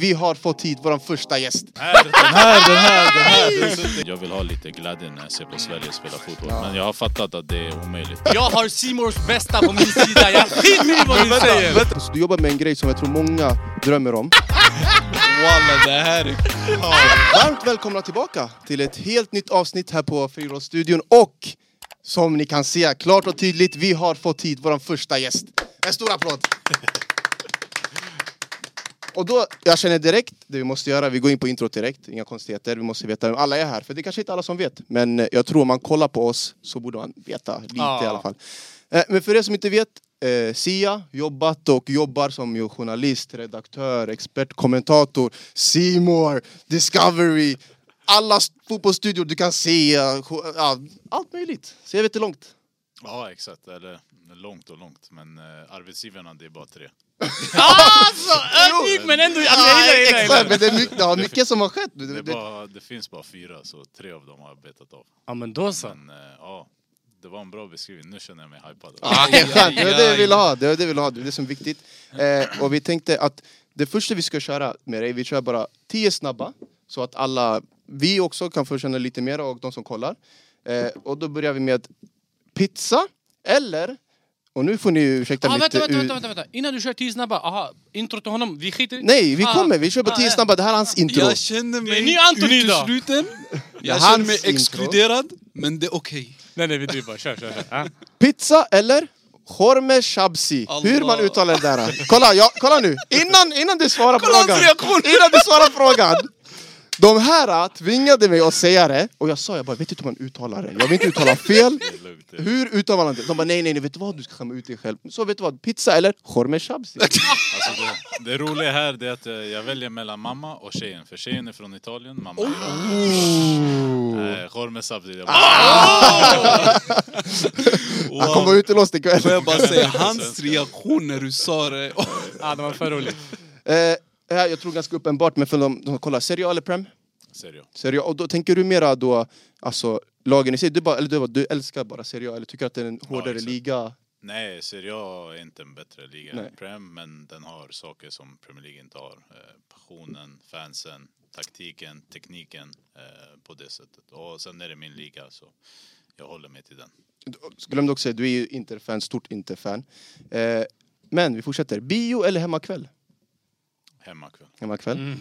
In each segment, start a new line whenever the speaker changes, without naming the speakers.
Vi har fått hit vår första gäst.
här, den här, den här, den här. Den sitter. Jag vill ha lite glädje när jag ser på Sverige spela fotboll. Men jag har fattat att det är omöjligt.
Jag har Simors bästa på min sida, jag skiter i vad du säger!
Alltså, du jobbar med en grej som jag tror många drömmer om.
Walla, det här är...
Varmt välkomna tillbaka till ett helt nytt avsnitt här på Friidrottsstudion. Och som ni kan se klart och tydligt, vi har fått hit vår första gäst. En stor applåd! Och då, jag känner direkt det vi måste göra, vi går in på introt direkt, inga konstigheter, vi måste veta vem alla är här, för det är kanske inte alla som vet. Men eh, jag tror om man kollar på oss så borde man veta lite
Ja.
i alla fall. Eh, Men för er som inte vet, eh, Sia, jobbat och jobbar som ju journalist, redaktör, expert, kommentator, Seymour, Discovery, alla s- fotbollsstudior du kan se, eh, jo- ja, allt möjligt. Så jag vet inte långt.
Ja, exakt. Eller långt och långt. Men eh, arbetsgivarna, det är bara tre.
Alltså, ödmjuk men ändå... Alltså, jag gillar det, jag gillar
exakt,
det.
men det är mycket, det har mycket som har skett.
Det, är
Det, det,
bara, det finns bara fyra, så tre av dem har jag betat av.
Ja men då så.
Men eh, ja, det var en bra beskrivning. Nu känner jag mig hypad.
Ah, det är skönt. Det var det vi ville ha. Det var det vi ville ha. Det är det som är viktigt. Eh, och vi tänkte att det första vi ska köra med dig, vi kör bara tio snabba så att alla, vi också kan få känna lite mer och de som kollar. Eh, och då börjar vi med pizza eller, och nu får ni ursäkta
Ah,
mitt...
vänta, vänta,
ur-
vänta, vänta, vänta. Innan du kör tio snabba, aha, intro till honom, vi skiter i-
Nej, vi
Ah,
kommer. Vi kör på
ah,
tio
eh.
snabba. Det här är hans intro.
Jag känner
Det är
mig
ny Anthony idag.
utesluten. Jag
Hans
känner mig
intro.
exkluderad, men det är okej.
Nej nej, vi driver bara. Kör, kör, kör. Ah.
Pizza eller Horme Shabsi.
Allah.
Hur man uttalar det där. Kolla, ja, kolla nu. Innan, innan du svarar
Kolla hans
frågan.
reaktion.
Innan du svarar frågan. De här äh, tvingade mig att säga det. Och jag sa, jag bara, vet inte hur man uttalar det. Jag vill inte uttala fel.
Det är lugnt. det är-
Hur uttalar man det? De bara, nej, nej, nej, vet du vad? Du ska skämma ut dig själv. Så vet du vad? Pizza eller Horme Shabsi.
Alltså det, det roliga här det är att eh, jag väljer mellan mamma och tjejen. För tjejen är från Italien, mamma är Eh, Iran. Jorme Sabdi. det var-
Han kommer vara
Wow.
utelåst ikväll.
Får jag bara säga, hans
Svenska.
reaktion när du sa det... Åh,
ah, det var för roligt.
Eh, det här, jag tror ganska uppenbart, men för de, de kollar, Serie A eller Prem?
Serio.
Serie A. Och då tänker du mera då, alltså lagen i sig, du, bara, eller du, bara- du älskar bara Serie A eller tycker att det är en hårdare
exakt.
liga?
Nej, Serie A är inte en bättre liga
Nej.
än Prem, men den har saker som Premier League inte har. Eh, Passionen, fansen, taktiken, tekniken eh, på det sättet. Och sen är det min liga, så jag håller mig till den.
Jag glömde också säga, du är ju Inter-fan, stort Inter-fan. Eh, men vi fortsätter. Bio eller hemmakväll?
Hemmakväll.
Hemmakväll.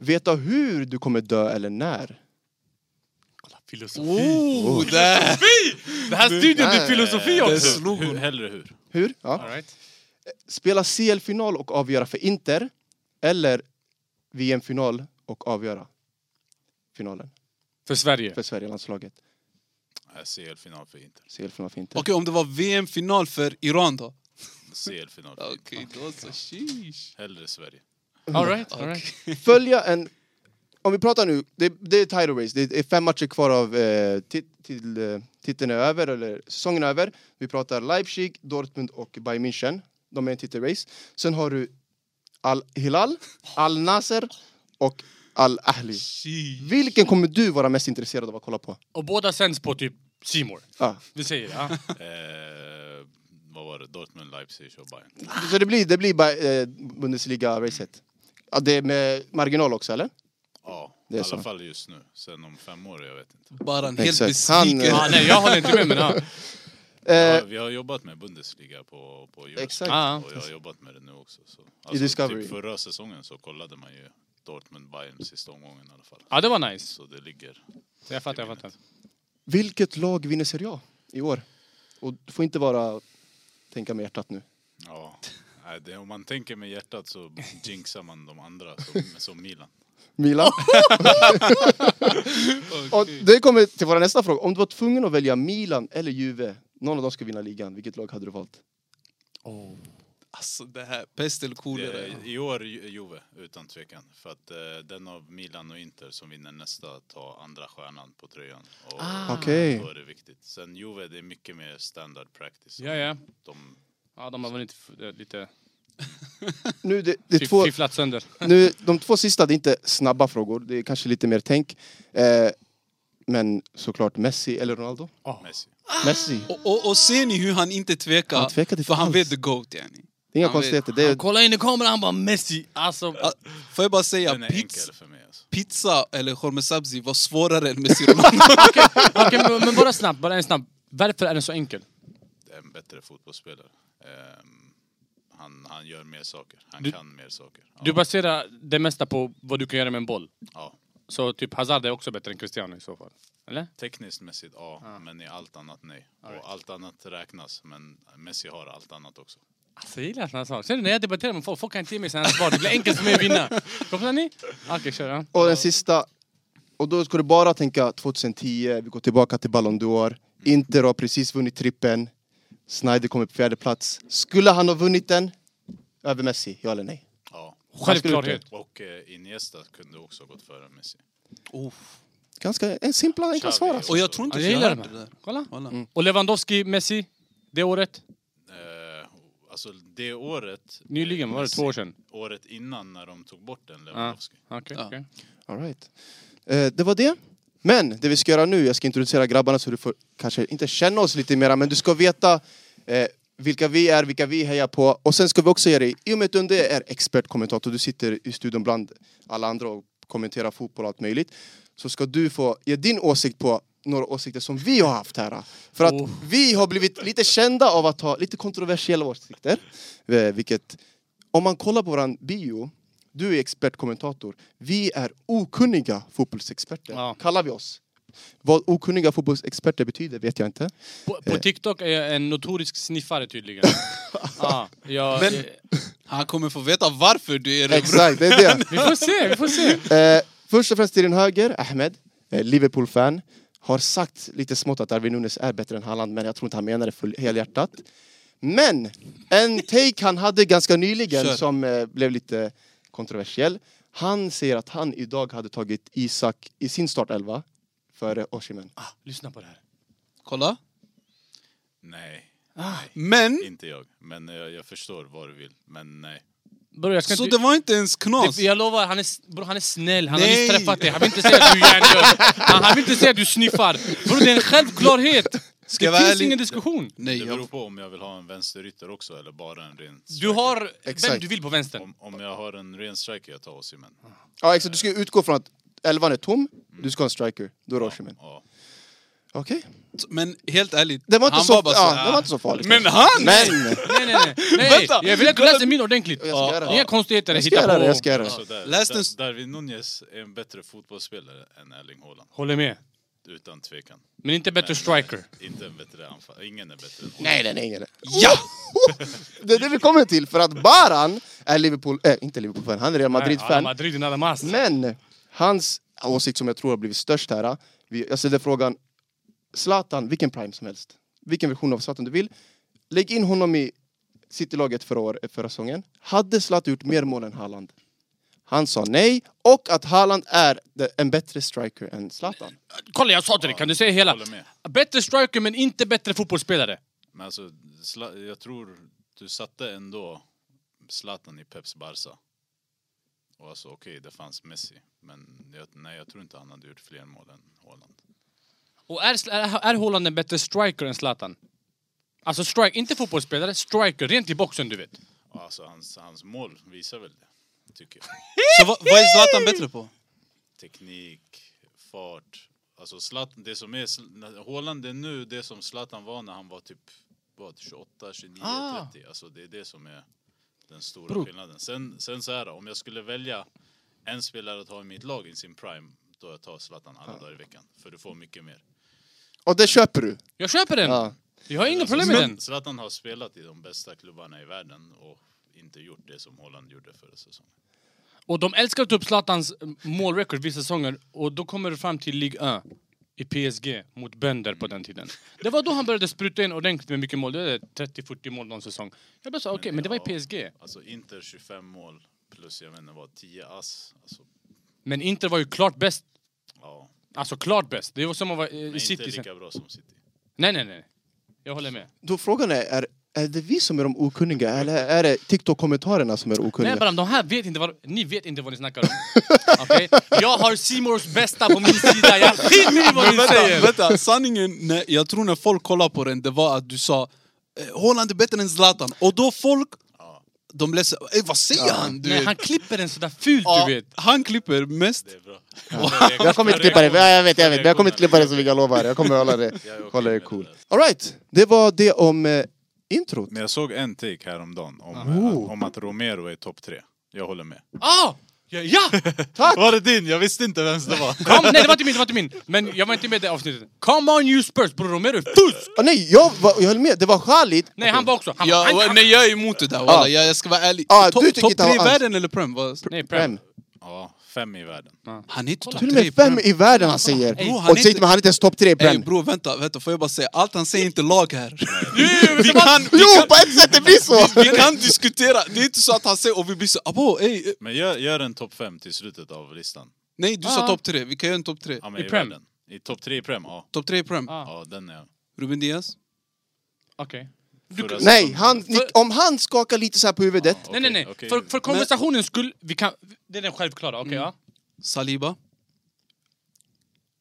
Veta hur du kommer dö eller när?
Filosofi.
Oh, där!
Det här studion, det är
Nej.
filosofi
Det
också.
slog
Hur,
honom.
hellre hur?
Hur? Ja.
All right.
Spela CL-final och avgöra för Inter eller VM-final och avgöra finalen
För Sverige.
för Sverige-landslaget.
Eh, CL-final för Inter.
CL-final för Inter.
Okej, om det var VM-final för Iran då?
CL-final för Inter.
Okej, då så. Sheesh.
Hellre Sverige.
All right, all
Okej.
right.
följa en... Om vi pratar nu, det, det är title race, det är fem matcher kvar av eh, tit, till, eh, titeln är över, eller säsongen är över. Vi pratar Leipzig, Dortmund och Bayern München. De är i en titelrace. Sen har du Al-Hilal, Al-Nasser och Al-Ahli.
Sheesh.
Vilken kommer du vara mest intresserad av att kolla på?
Och båda sänds på typ Simor.
Ja.
Vi säger det. Ah.
Eh, vad var det? Dortmund, Leipzig och Bayern.
Så det blir, det blir bara, eh, Bundesliga-racet. Ja, det är med marginal också, eller?
Ja,
Det
i
är
alla
så.
fall just nu. Sen om fem år, jag vet inte.
Bara en helt
Exakt. Han,
besviken.
Ah, nej, jag håller inte med men ah.
Eh,
Ja, vi har jobbat med Bundesliga på, på Eurosport.
Exakt.
Ah.
Och jag har jobbat med det nu också. Så. Alltså,
Discovery.
Typ förra säsongen så kollade man ju Dortmund, Bayern sista omgången i alla fall.
ah, det var nice.
Så det ligger.
Jag fattar, jag fattar.
Vilket lag vinner Serie A i år? Och du får inte bara tänka med hjärtat nu.
Ja. Nej, det, om man tänker med hjärtat så jinxar man de andra som, som Milan.
Milan. Och det kommer till vår nästa fråga. Om du var tvungen att välja Milan eller Juve, någon av dem ska vinna ligan, vilket lag hade du valt?
Alltså det här, pest eller
Det,
kolera.
I år Ju- Juve, utan tvekan. För att eh, den av Milan och Inter som vinner nästa tar andra stjärnan på tröjan. Och
Okej.
Då är det viktigt. Sen Juve, det är mycket mer standard practice.
Ja, ja.
De,
Ja, de har vunnit f- eh, lite...
Nu, det, det är
fiff-
två,
Fifflat sönder.
nu, de två sista, det är inte snabba frågor, det är kanske lite mer tänk. Eh, men såklart Messi eller Ronaldo?
Messi.
Messi.
Och, och, och ser ni hur han inte tvekar?
Han tvekade inte
för han
alls.
vet the GOAT yani.
Det är inga
Han vet.
konstigheter. Det
Han
är,
kollar in i kameran, han bara Messi. Alltså,
Ah, Får jag bara säga,
Den är
pizza,
enkel för mig. Alltså.
pizza eller Jorme Sabzi var svårare än Messi Ronaldo.
okej, men- men bara snabbt, bara en snabb. Varför är den så enkel?
Det är en bättre fotbollsspelare. Ehm, han, han gör mer saker. Han
Du-
kan mer saker. Ja.
Du baserar det mesta på vad du kan göra med en boll.
ja.
Så typ Hazard är också bättre än Cristiano i så fall. Eller?
Tekniskt mässigt, ja. Men i allt annat, nej. Och allt annat räknas. Men Messi har allt annat också.
Alltså jag gillar såna saker. Ser du när jag debatterar med folk, folk kan inte ge mig såna här svar. Det blir enkelt för mig att vinna. Kopplar ni? Okej, kör. Ja.
och den sista. Och då ska du bara tänka 2010, vi går tillbaka till Ballon d'Or. Inter har precis vunnit trippen. Snyder kommer på fjärde plats. Skulle han ha vunnit den? Över Messi, ja eller nej?
Ja.
Självklarhet.
Och eh, Iniesta kunde också gått före Messi.
Ganska en simpla, enkla
Xavi
svar. alltså.
Och jag tror inte
Ja, jag
att jag
gillar Mm.
hörde
den
det
här.
där.
Kolla.
Kolla.
Och Lewandowski, Messi, det året.
Eh, alltså det året...
Nyligen,
eh,
var det
Messi-
två år sedan?
Året innan när de tog bort den,
Ja.
Lewandowski.
Okej,
Ja.
okej.
All right. eh, det var det. Men det vi ska göra nu, jag ska introducera grabbarna så du får kanske inte känna oss lite mera, men du ska veta eh, vilka vi är, vilka vi hejar på. Och sen ska vi också ge dig, i och med att Dunde är expertkommentator, du sitter i studion bland alla andra och kommenterar fotboll och allt möjligt, så ska du få ge din åsikt på några åsikter som vi har haft här. För att
Oh.
vi har blivit lite kända av att ha lite kontroversiella åsikter, eh, vilket om man kollar på våran bio, du är expertkommentator. Vi är okunniga fotbollsexperter,
Ja.
kallar vi oss. Vad okunniga fotbollsexperter betyder vet jag inte.
På, på TikTok är jag en notorisk sniffare tydligen. ja, jag,
Men-
eh,
Han kommer få veta varför du är det.
Exakt, det är
vi får se, vi får se.
det. Eh, först och främst till din höger, Ahmed, eh, Liverpool-fan. Har sagt lite smått att Darwin Nunes är bättre än Haaland, men jag tror inte han menar det full, helhjärtat. Men en take han hade ganska nyligen
Kör.
som eh, blev lite kontroversiell. Han säger att han idag hade tagit Isak i sin startelva före Osimhen.
Ah, lyssna på det här.
Kolla.
Nej,
Men,
inte jag. Men eh, jag förstår vad du vill. Men nej.
Bro, jag ska
så
inte...
det var inte ens knas.
Det- Jag lovar, han är, s- bror, han är snäll. Han har
Nej.
nyss träffat dig. Han vill inte säga att du är hjärndöd. Han, han vill inte säga att du sniffar. Bror, det är en självklarhet.
Ska jag
Det
vara
finns
ärlig?
ingen diskussion.
Nej,
Det beror
jag,
på om jag vill ha en vänsterytter också eller bara en ren
Du har vem
Exakt.
du vill på vänstern.
Om, om jag har en ren striker, jag tar Osimhen.
Ja exakt, du ska ju utgå från att elvan är tom, du ska ha en striker, då är det Osimhen.
Ja.
Okej.
men helt ärligt,
Det var inte
han
så,
var bara så.
ja, det var inte så farligt.
Men han!
Men!
Nej, nej, nej. nej.
Vänta.
Jag vill att du läser min ordentligt.
Jag ska göra det.
Inga konstigheter.
Jag ska göra
Hitta
det,
på.
jag ska göra det.
Alltså där,
Läs den s-
där, Darwin Nunez är en bättre fotbollsspelare än Erling Haaland.
Håller med.
Utan tvekan.
Men inte bättre
Men,
striker.
eh, Inte en bättre anfall. Ingen är bättre än Haaland.
Nej, nej, nej, nej. nej.
Ja!
Det är det vi kommer till, för att Baran är Liverpool, äh, inte Liverpool-fan, han är Real
Nej,
Madrid-fan.
Madrid är nada más.
Men hans åsikt som jag tror har blivit störst här, vi- jag ställde frågan, Zlatan, vilken prime som helst, vilken version av Zlatan du vill, lägg in honom i Citylaget förra, år, förra säsongen. Hade Zlatan gjort mer mål än Haaland? Han sa nej, och att Haaland är de- en bättre striker än Zlatan.
Kolla, jag sa till dig. Kan du säga hela?
Håller med.
Bättre striker, men inte bättre fotbollsspelare.
Men alltså, Zla- jag tror du satte ändå Zlatan i Peps Barca. Och alltså okej, det fanns Messi. Men jag, nej, jag tror inte han hade gjort fler mål än Haaland.
Och är, är, är Haaland en bättre striker än Zlatan? Alltså strike, inte fotbollsspelare, striker, rent i boxen du vet.
Och Alltså hans, hans mål visar väl det, tycker jag.
Så vad, vad är Zlatan bättre på?
Teknik, fart. Alltså Zlatan, det som är... Zl- när- Haaland är nu det som Zlatan var när han var typ vad, 28, 29,
Ah.
30. Alltså det är det som är den stora
Bro.
skillnaden. Sen, sen så här då, om jag skulle välja en spelare att ha i mitt lag i sin prime, då jag tar Zlatan
Ah.
alla dagar i veckan. För du får mycket mer.
Och det köper du?
Jag köper den!
Ja.
Jag har inga
Alltså,
problem med
Zlatan-
den.
Zlatan har spelat i de bästa klubbarna i världen och inte gjort det som Haaland gjorde förra säsongen.
Och de älskar att ta upp Zlatans eh, målrekord vissa säsonger och då kommer du fram till Ligue 1 i PSG mot bönder på den tiden. Det var då han började spruta in ordentligt med mycket mål. Det är 30-40 mål någon säsong. Jag bara sa okej, men det var i
ja.
PSG.
Alltså Inter 25 mål plus, jag vet inte vad, 10 ass. Alltså,
Men Inter var ju klart bäst.
ja.
Alltså klart bäst. Det var som att vara eh,
Men
i
inte
City sen.
lika bra som City.
Nej, nej, nej. Jag håller med.
Då frågan är, är, är det vi som är de okunniga eller är det TikTok-kommentarerna som är okunniga?
Nej Bram, de här vet inte vad... Ni vet inte vad ni snackar om. Okej? Jag har Simors bästa på min sida, jag skiter i vad ni
Vänta,
säger!
vänta, sanningen, nej, jag tror när folk kollade på den, det var att du sa eh, Haaland är bättre än Zlatan. Och då folk
Ja.
de blev så... "Ey, Vad säger
Ja.
han? Du
Nej,
vet?
han klipper den sådär fult
Ja,
du vet.
han klipper mest.
Det är bra.
Jag kommer inte klippa det, ja, jag vet, jag vet. Men jag kommer inte klippa det så vi kan lova. Jag kommer hålla det,
Jag är okej
hålla det
med det
cool.
där.
Alright, det var det om eh, introt.
Men jag såg en take häromdagen om,
Oh.
eh, om att Romero är topp tre. Jag håller med.
Ah! Ja! ja!
Var det din? Jag visste inte vems det var.
Kom, nej det var inte min, det var inte min! Men jag var inte med i det avsnittet. Come on you Spurs, bror Romero är fusk!
Ah, nej, jag, var, jag höll med. Det var Khalid.
Nej han var också, han,
Jag,
han, han,
nej, jag är emot det där
Ja.
walla. Jag, jag ska vara ärlig.
Ja,
Topp-
du tycker
Topp
inte han
tre i
var alls-
världen eller Prem? Vad-
nej
Prem.
Prem.
Ja, fem i världen.
Han är inte topp
Till och
tre i
med
Prem.
fem i världen han säger.
Bro,
Och
han är
säg
inte-
till mig, han är inte ens topp tre i
Ey
Prem.
bror vänta, vänta, får jag bara säga, allt han säger är inte lag här.
men
vi, kan, vi,
Jo, på ett sätt det blir så!
vi kan diskutera, det är inte så att han säger och vi blir så abo, ey, eh,
Men gör, gör en topp fem till slutet av listan.
Nej du sa
Ah.
topp tre, vi kan göra en topp tre.
Ja, men
I
I,
Prem?
världen. I topp tre i Prem, ja.
Topp tre i Prem.
Ah.
Ja, den är...
Ruben Diaz.
Okej.
förra
Nej,
säsongen.
han, om han skakar lite så här på huvudet.
Ja,
Nej nej
okej,
nej,
okej.
för, för konversationens skull, vi kan... Det är den självklara, okej ja.
Mm. Saliba.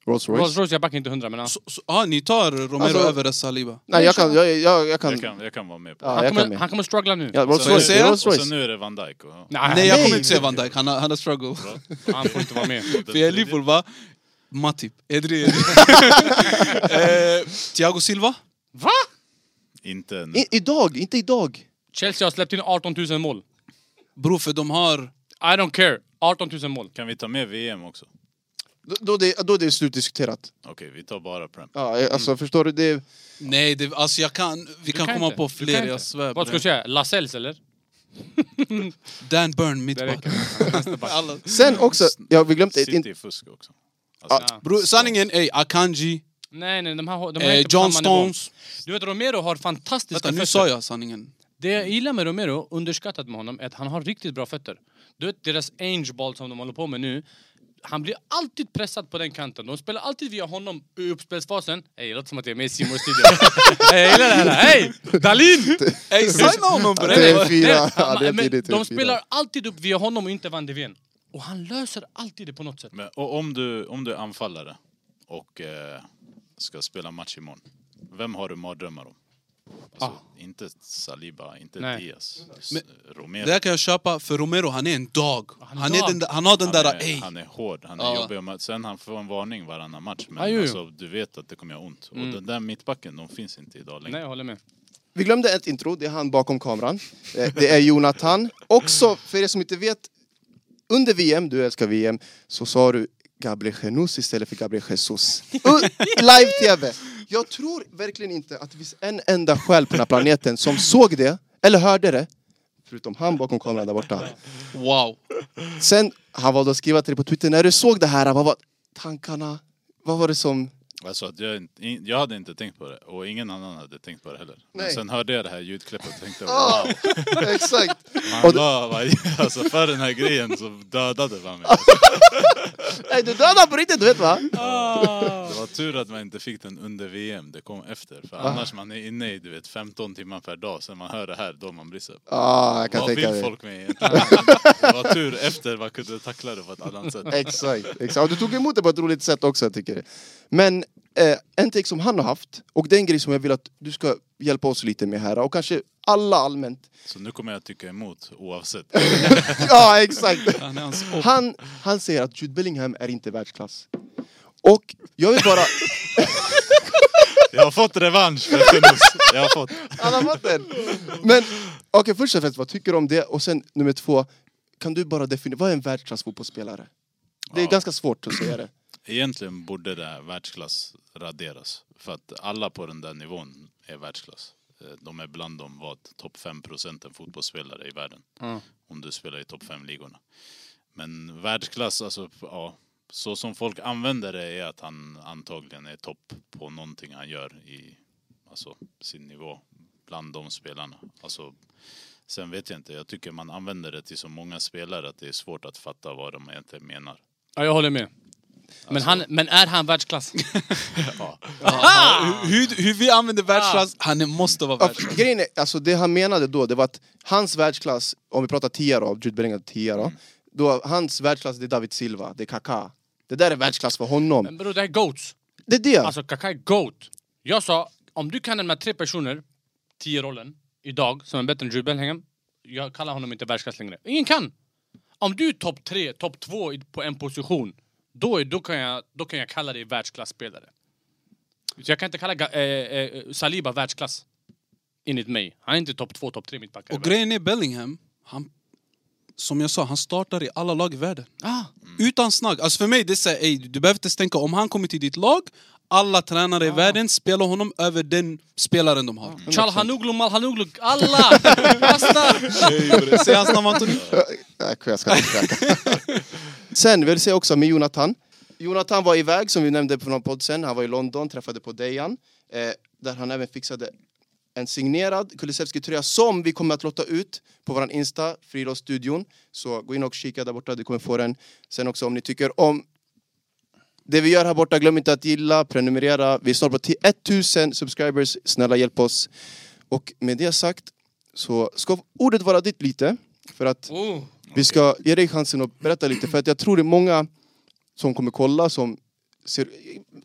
Rolls
Rolls Royce, jag backar inte hundra men ja.
Så, så, ah, ni tar Romero
Alltså-
över Saliba.
Nej, jag kan... Jag, jag, jag kan,
Jag kan, jag kan vara med på
Ja,
det.
Han
jag kan
kommer,
med.
han kommer struggla nu.
Ja, Rolls
Så-
Royce, det är
Och
Rolls
Och så
Royce.
nu är det Van Dijk. Och, ja.
Ah,
Nej jag
nej.
kommer inte säga Van Dijk, han har, han har struggle.
Han får inte vara med.
För jag är Liverpool va? Matip. Edri, Edri. eh, Thiago Silva.
Va?
Inte nu.
I, idag, inte idag.
Chelsea har släppt in 18 000 mål.
Bror för de har...
I don't care. 18 000 mål.
Kan vi ta med VM också?
Då, då, det, då det är slutdiskuterat.
Okej, vi tar bara Prem.
Ja, eh, alltså förstår du? Det är,
Nej, det, alltså jag kan... Vi kan,
kan
komma
inte.
på
Du kan
fler,
inte.
jag svär på
Vad ska jag
det.
säga? Lasells eller?
Dan Burn,
Det
mittback.
räcker.
Alla-
sen också, ja, vi glömde...
City
In,
är fusk också.
Ja.
Bror sanningen, ey, Akanji,
Nej nej, de här... De här är
eh,
inte på
John
samma nivå.
Stones.
Du vet Romero har fantastiska
Vänta, nu
fötter.
sa jag sanningen.
Det jag gillar med Romero, underskattat med honom, är att han har riktigt bra fötter. Du vet deras ange ball som de håller på med nu. Han blir alltid pressad på den kanten. De spelar alltid via honom i uppspelsfasen. Ey, det låter som att jag är med i C More Studio. Ey, jag gillar det här. Hej! Dalin!
Ey, signa honom
bre. Det är fyra.
Nej,
Ja, det är
men
tidigt, det är
de
fyra.
spelar alltid upp via honom och inte Van de Ven. Och han löser alltid det på något sätt.
Men, och om du, om du är anfallare och eh, ska spela match imorgon. Vem har du mardrömmar om? Alltså, Inte Saliba, inte
Nej.
Diaz. S-
Men-
Romero.
Det här kan jag köpa, för Romero han är en dag.
Han
Han,
är
är
dog.
den där, han har den
han,
där,
är,
ey.
han är hård, han är
Ja.
jobbig. att möta. Sen han får en varning varannan match. Men
Ah, jo, jo.
alltså, du vet att det kommer göra ont. Och den där mittbacken, de finns inte idag längre.
Nej, jag håller med.
vi glömde ett intro, det är han bakom kameran. Eh, Det är Jonathan. Också, för er som inte vet, under VM, du älskar VM, så sa du Gabriel Jesus istället för Gabriel Jesus. U- Live-tv! Jag tror verkligen inte att det finns en enda själ på den här planeten som såg det, eller hörde det, förutom han bakom kameran där borta.
Wow.
Sen, han valde att skriva till dig på Twitter, när du såg det här, vad var tankarna? Vad var det som...
Alltså, att jag, inte- in- jag hade inte tänkt på det. Och ingen annan hade tänkt på det heller. Men
Nej.
sen hörde jag det här ljudklippet och tänkte
Ah,
wow.
Exakt!
Han var, var- alltså, för den här grejen så dödade man mig.
Nej, du dödade på riktigt, du vet va?
Det var tur att man inte fick den under VM, det kom efter.
Ah.
För annars man är inne i du vet, 15 timmar per dag, sen man hör det här, då man blir så här,
Ah, jag kan
Vad
tänka
vill
mig.
folk mig egentligen? Det var tur efter man kunde tackla det på ett annat
Eh.
sätt.
Exakt, exakt. Och du tog emot det på ett roligt sätt också, jag tycker jag. Men eh, en take som han har haft, och det är en grej som jag vill att du ska hjälpa oss lite med här, och kanske alla allmänt.
Så nu kommer jag tycka emot oavsett.
Ja, exakt!
Han är hans
Han, han säger att Jude Bellingham är inte världsklass. Och jag vill bara...
Jag har fått revansch för Tunis. Jag har fått.
Han har fått den! Men okej, först och främst, vad tycker du om det? Och sen nummer två, kan du bara definiera, vad är en världsklass fotbollsspelare? Det är
Ja.
ganska svårt att säga det.
Egentligen borde det här världsklass raderas. För att alla på den där nivån är världsklass. Eh, De är bland de vad, topp 5 procenten fotbollsspelare i världen.
Ja.
Om du spelar i topp 5-ligorna. Men världsklass, alltså ja. Så som folk använder det är att han antagligen är topp på någonting han gör i alltså, sin nivå. Bland de spelarna. Alltså, sen vet jag inte, jag tycker man använder det till så många spelare att det är svårt att fatta vad de egentligen menar.
Ja, jag håller med. Men, han, men är han världsklass?
Ah! Hur, hur vi använder världsklass, han är- måste vara
Ja,
världsklass.
för grejen är, alltså det han menade då, det var att hans världsklass, om vi pratar tia då, Jude Bellingham tia
Mm.
då, då, hans världsklass det är David Silva, det är Kaká. Det där är världsklass för honom.
Men bror, det här är GOATs.
Det är det!
Alltså Kaká är GOAT. Jag sa, om du kan nämna tre personer, tio rollen, idag, som är bättre än Jude Bellingham, jag kallar honom inte världsklass längre. Ingen kan! Om du är topp tre, topp två i- på en position, då, är, då, kan jag, då kan jag kalla dig världsklasspelare. Så jag kan inte kalla Ga- eh, eh, Saliba världsklass, enligt mig. Han är inte topp två, topp tre mittbackare.
Och grejen är Bellingham, han, som jag sa, han startar i alla lag i världen.
ah,
Utan snack. Alltså för mig, det är så här, ey, du behöver inte ens tänka. Om han kommer till ditt lag, alla tränare i världen spelar honom över den spelaren de har.
Chalhanoglu, Malhanoglu, alla! Basta!
Säg hans namn Anthony.
Nej, jag ska inte kräka. Sen vill jag säga också med Jonathan. Jonathan var iväg, som vi nämnde på någon podd sen. Han var i London, träffade på Dejan. Eh, där han även fixade en signerad Kulusevski-tröja som vi kommer att lotta ut på vår Insta, Frilåsstudion. Så gå in och kika där borta, du kommer få den. Sen också om ni tycker om det vi gör här borta, glöm inte att gilla, prenumerera. Vi är snart på 10 1000 subscribers, snälla hjälp oss. Och med det sagt så ska ordet vara ditt lite. För att
Oh.
vi ska ge dig chansen att berätta lite, för att jag tror det är många som kommer kolla som ser,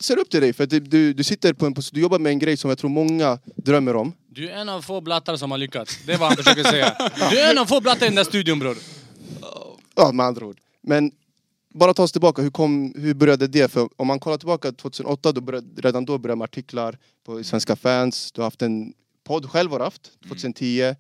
ser upp till dig. För att du- du, du sitter på en position, du jobbar med en grej som jag tror många drömmer om.
Du är en av få blattar som har lyckats. Det är vad han försöker säga. Du är en av få blattar i den där studion bror.
Ja, med andra ord. Men bara ta oss tillbaka, hur, kom, hur började det? För om man kollar tillbaka 2008, då började, redan då började med artiklar på Svenska fans. Du har haft en podd själv, har du haft, 2010.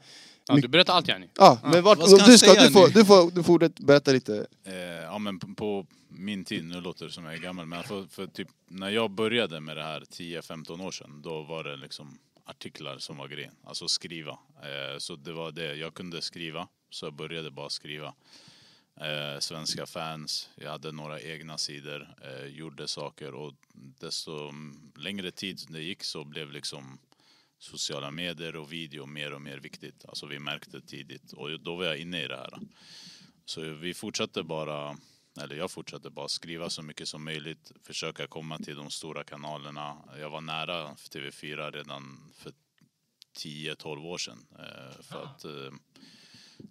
Ja, du berättar allt yani.
Ja, Mm. Ah, men vart,
vad ska han
du, ska,
säga
du, får,
nu?
du, får, du får ordet, berätta lite.
Eh, ja, men på- på min tid, nu låter det som jag är gammal, men för, för typ när jag började med det här 10-15 år sedan, då var det liksom artiklar som var grejen, alltså skriva. Eh, så det var det, jag kunde skriva, så jag började bara skriva. Eh, svenska fans, jag hade några egna sidor, eh, gjorde saker och desto längre tid det gick så blev liksom sociala medier och video mer och mer viktigt. Alltså vi märkte tidigt och då var jag inne i det här. Så vi fortsatte bara, eller jag fortsatte bara skriva så mycket som möjligt, försöka komma till de stora kanalerna. Jag var nära TV4 redan för 10-12 år sedan. eh, För att eh,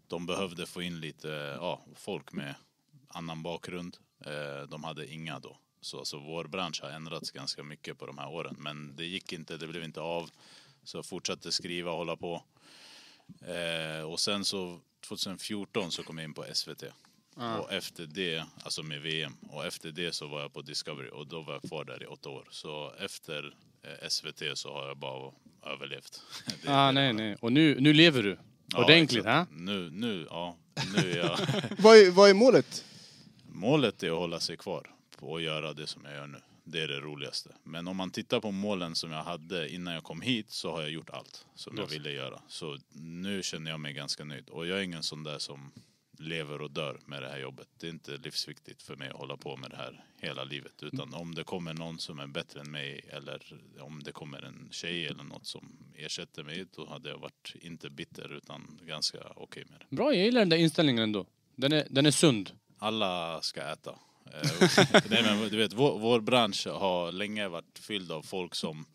de behövde få in lite ja, folk med annan bakgrund. Eh, De hade inga då. Så alltså, vår bransch har ändrats ganska mycket på de här åren. Men det gick inte, det blev inte av. Så jag fortsatte skriva och hålla på. Eh, och sen så 2014 så kom jag in på SVT.
Ah.
Och efter det, alltså med VM, och efter det så var jag på Discovery och då var jag kvar där i åtta år. Så efter eh, SVT så har jag bara överlevt. Det är
Ah,
det.
nej, nej. Och nu, nu lever du.
Ja,
Ordentligt,
exakt.
ha?
Nu, nu, ja. Nu är jag...
Vad är, vad är målet?
Målet är att hålla sig kvar och göra det som jag gör nu. Det är det roligaste. Men om man tittar på målen som jag hade innan jag kom hit så har jag gjort allt som jag ville göra. Så nu känner jag mig ganska nöjd. Och jag är ingen sån där som lever och dör med det här jobbet. Det är inte livsviktigt för mig att hålla på med det här hela livet. Utan om det kommer någon som är bättre än mig eller om det kommer en tjej eller något som ersätter mig då hade jag varit inte bitter utan ganska okej med det.
Bra, jag gillar den där inställningen ändå. Den är, den är sund.
alla ska äta. Eh, Nej, men du vet, vår, vår bransch har länge varit fylld av folk som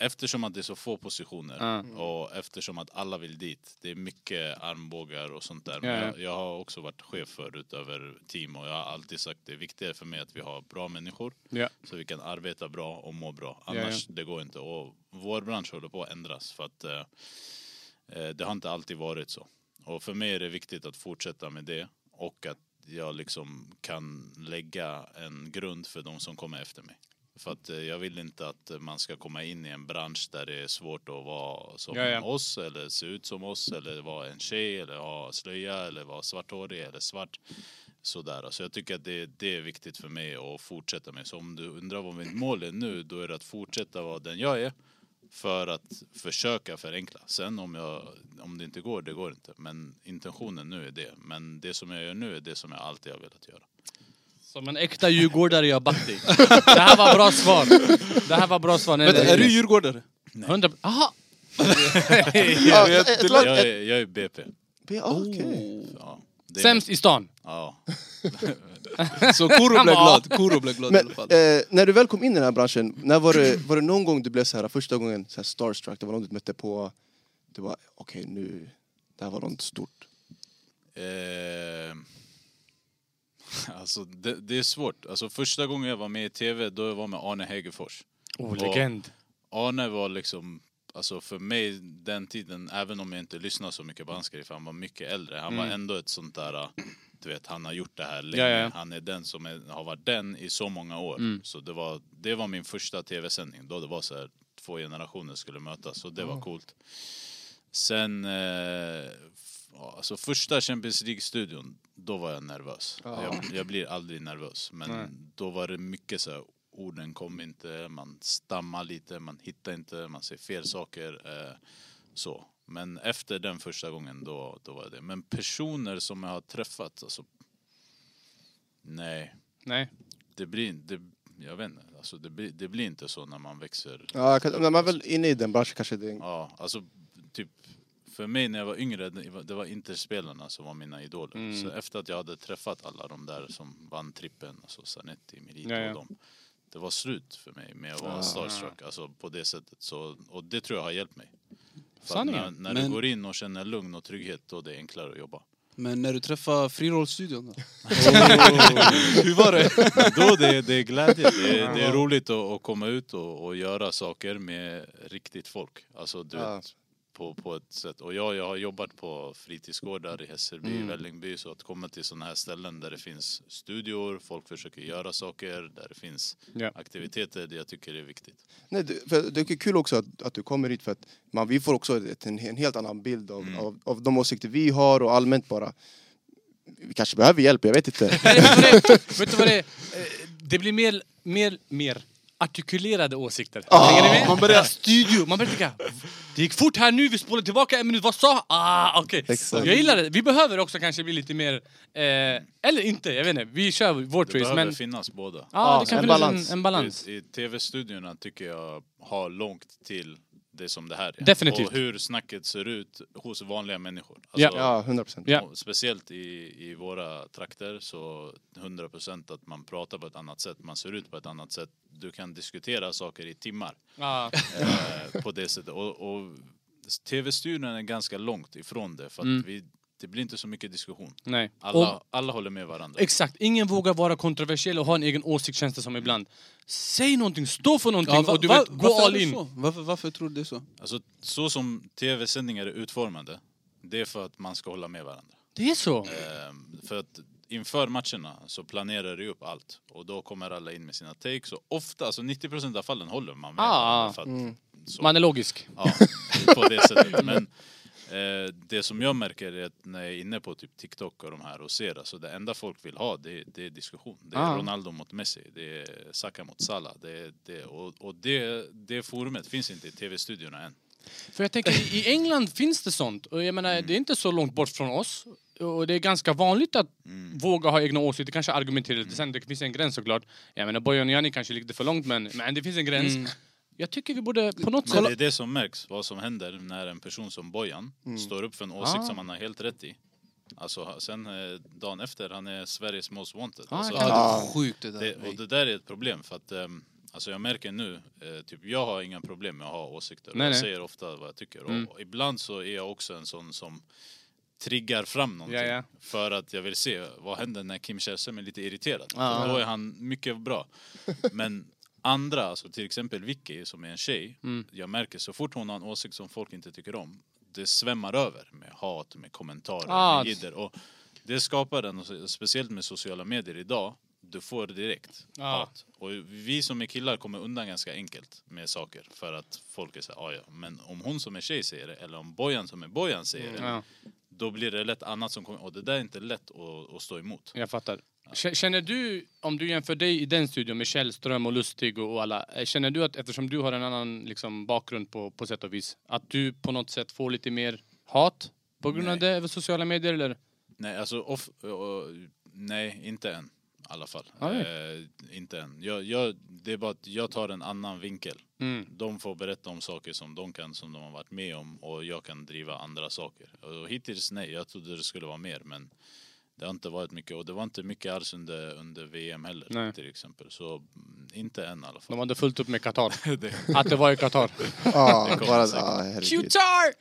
Eftersom att det är så få positioner
Ja.
och eftersom att alla vill dit. Det är mycket armbågar och sånt där. Men
Ja, ja.
Jag, jag har också varit chef förut över team och jag har alltid sagt det viktiga för mig att vi har bra människor
Ja.
så vi kan arbeta bra och må bra.
ja.
Annars det går inte. Och vår bransch håller på att ändras för att eh, eh, det har inte alltid varit så. Och för mig är det viktigt att fortsätta med det och att jag liksom kan lägga en grund för de som kommer efter mig. För att eh, jag vill inte att eh, man ska komma in i en bransch där det är svårt att vara som
Ja, ja.
oss eller se ut som oss eller vara en tjej eller ha slöja eller vara svarthårig eller svart. Sådär. Så jag tycker att det, det är viktigt för mig att fortsätta med. Så om du undrar vad mitt mål är nu, då är det att fortsätta vara den jag är för att försöka förenkla. Sen om, jag, om det inte går, det går inte. Men intentionen nu är det. Men det som jag gör nu är det som jag alltid har velat göra.
Som en äkta djurgårdare jag back dig. Det här var bra svar. Det här var bra svar. Nej,
Vänta,
nej,
är du
nej.
djurgårdare?
100... Aha!
Ja, ett lag-
Jag är, jag är BP.
Ja, okej.
Ja, det är
Sämst i stan.
Ja.
Så Kuro blev glad. Kuro blev glad i
Men
alla fall.
eh, när du väl kom in i den här branschen, när var, det, var det någon gång du blev så här första gången så här starstruck? Det var någon du mötte på, det var okej nu, det här var något stort.
Eh, alltså det, det är svårt. Alltså första gången jag var med i tv, då jag var med Arne Hegerfors.
Oh,
Och-
legend.
Arne var liksom, Alltså för mig, den tiden, även om jag inte lyssnar så mycket på Ansgari, för han var mycket äldre, han var ändå ett sånt där, äh, du vet, han har gjort det här länge.
Mm. Ja, Mm. ja.
Han är den som är, har varit den i så många år. Så det var, det var min första tv-sändning, då det var så här, två generationer skulle mötas, så det var coolt. Sen, eh, f- ja, alltså första Champions League-studion, då var jag nervös. Jag, jag blir aldrig nervös, men då var det mycket så här, orden kom inte, man stammar lite, man hittar inte, man säger fel saker. Eh, så. Men efter den första gången, då, då var det Men personer som jag har träffat, alltså, nej,
Nej.
det blir inte, jag vet inte, alltså, det, blir, det blir inte så när man växer
Ja, jag kan- när man är väl inne i den branschen kanske det är...
Ja, alltså typ för mig när jag var yngre, det var- det var Interspelarna som var mina idoler.
Mm.
Så efter att jag hade träffat alla de där som vann trippen, alltså Zanetti, Milito
Ja, Ah. ja.
och dem. Det var slut för mig med att vara starstruck, alltså på det sättet. Så, och det tror jag har hjälpt mig. För att när,
Sanningen.
när du
Men-
går in och känner lugn och trygghet, då är det enklare att jobba.
Men när du träffar frirollstudion då?
Hur var det? Då det, det är glädje. Det är, det är roligt att, att komma ut och, och göra saker med riktigt folk. Alltså du
Ja.
vet, på, på ett sätt. Och jag, jag har jobbat på fritidsgårdar i Hässelby,
Mm.
Vällingby. Så att komma till sådana här ställen där det finns studior, folk försöker göra saker, där det finns
Ja.
aktiviteter. Det jag tycker är viktigt.
Nej, det, för det är kul också att, att du kommer hit för att man, vi får också ett, en, en helt annan bild av, av, av de åsikter vi har och allmänt bara. Vi kanske behöver hjälp, jag vet inte.
Nej, vet, du vad det, är? vet du vad det är? Eh, Det blir mer, mer, mer artikulerade åsikter.
Ah.
Hänger ni med? Man börjar... Studio, man börjar tänka... Det gick fort här nu, vi spolar tillbaka en minut, vad sa han? Ah, okej.
Exakt.
Jag gillar det. Vi behöver också kanske bli lite mer... Eh, eller inte, jag vet inte. Vi kör vårt
Det
race,
behöver
men...
finnas båda.
Ja,
Ja,
det kan
en
finnas
balans.
En, en balans.
I, i tv-studiorna tycker jag har långt till det som det här är.
Definitivt.
Och hur snacket ser ut hos vanliga människor. Alltså,
Ja.
Ja, 100 procent.
Ja.
Och Speciellt i, i våra trakter så 100% att man pratar på ett annat sätt, man ser ut på ett annat sätt. Du kan diskutera saker i timmar
Ja.
eh, på det sättet. Och, och tv-studion är ganska långt ifrån det för att vi, det blir inte så mycket diskussion.
Nej.
Alla,
Mm. Och,
alla håller med varandra.
exakt, ingen vågar vara kontroversiell och ha en egen åsikt känns det som ibland. Säg någonting, stå för någonting
Ja, va-
och du
va-
vet, gå
varför är
all
det
in.
så? Varför, varför tror du det är så?
Alltså, så som tv-sändningar är utformade, det är för att man ska hålla med varandra.
Det är så.
Ehm, För att inför matcherna så planerar du upp allt och då kommer alla in med sina takes och ofta, alltså 90% av fallen håller man med.
Ah,
för att, så,
Man är logisk.
ja, på det sättet. Men eh, det som jag märker är att när jag är inne på typ TikTok och de här och ser, alltså det enda folk vill ha det, det är diskussion. Det är
Ah.
Ronaldo mot Messi, det är Saka mot Salah. Det, det, och och det, det forumet finns inte i tv-studiorna än.
För jag tänker, i England finns det sånt. Och jag menar, det är inte så långt bort från oss. Och det är ganska vanligt att våga ha egna åsikter, kanske argumentera lite. Sen det finns en gräns såklart. Jag menar, Bojan och Janni kanske gick det för långt, men, men det finns en gräns. Jag tycker vi borde på något
Men
sätt...
det är det som märks, vad som händer när en person som Bojan står upp för en åsikt
Ah.
som han har helt rätt i. Alltså sen eh, dagen efter, han är Sveriges most wanted.
Ah,
alltså,
jag kan-
Ja, det är sjukt det där.
det, och det där är ett problem för att ehm, Alltså jag märker nu, eh, typ jag har inga problem med att ha åsikter.
Nej, Mm.
jag
nej.
säger ofta vad jag tycker. Och, och ibland så är jag också en sån som triggar fram någonting.
Ja, ja.
För att jag vill se vad händer när Kim Källström är lite irriterad.
Ja.
För då är han mycket bra. Men andra, alltså till exempel Vicky som är en tjej.
Mm.
Jag märker så fort hon har en åsikt som folk inte tycker om. Det svämmar över med hat, med kommentarer,
Ah,
med jidder. Och det skapar den, och speciellt med sociala medier idag. Du får direkt
Ja.
hat. Och vi som är killar kommer undan ganska enkelt med saker. För att folk är såhär, "Ah, ja men om hon som är tjej säger det, eller om Bojan som är Bojan säger det.
Mm. Ja,
Då blir det lätt annat som kommer, och det där är inte lätt att, att stå emot.
jag fattar. K- Känner du, om du jämför dig i den studion med Källström och Lustig och och alla, eh, känner du att eftersom du har en annan liksom, bakgrund på, på sätt och vis, att du på något sätt får lite mer hat på grund av det över sociala medier eller?
Nej, alltså off, och- nej, inte än i alla fall.
Ah,
Eh, inte än. Jag, jag, det är bara att jag tar en annan vinkel.
Mm.
De får berätta om saker som de kan, som de har varit med om och jag kan driva andra saker. Och hittills nej, jag trodde det skulle vara mer men det har inte varit mycket och det var inte mycket alls under, under VM heller
Nej.
till exempel. Så mm, inte än i alla fall.
De hade fullt upp med Qatar.
det,
Att det var i Qatar.
Ja,
kommer
bara...
säkert.
Ja, herregud.
Qatar!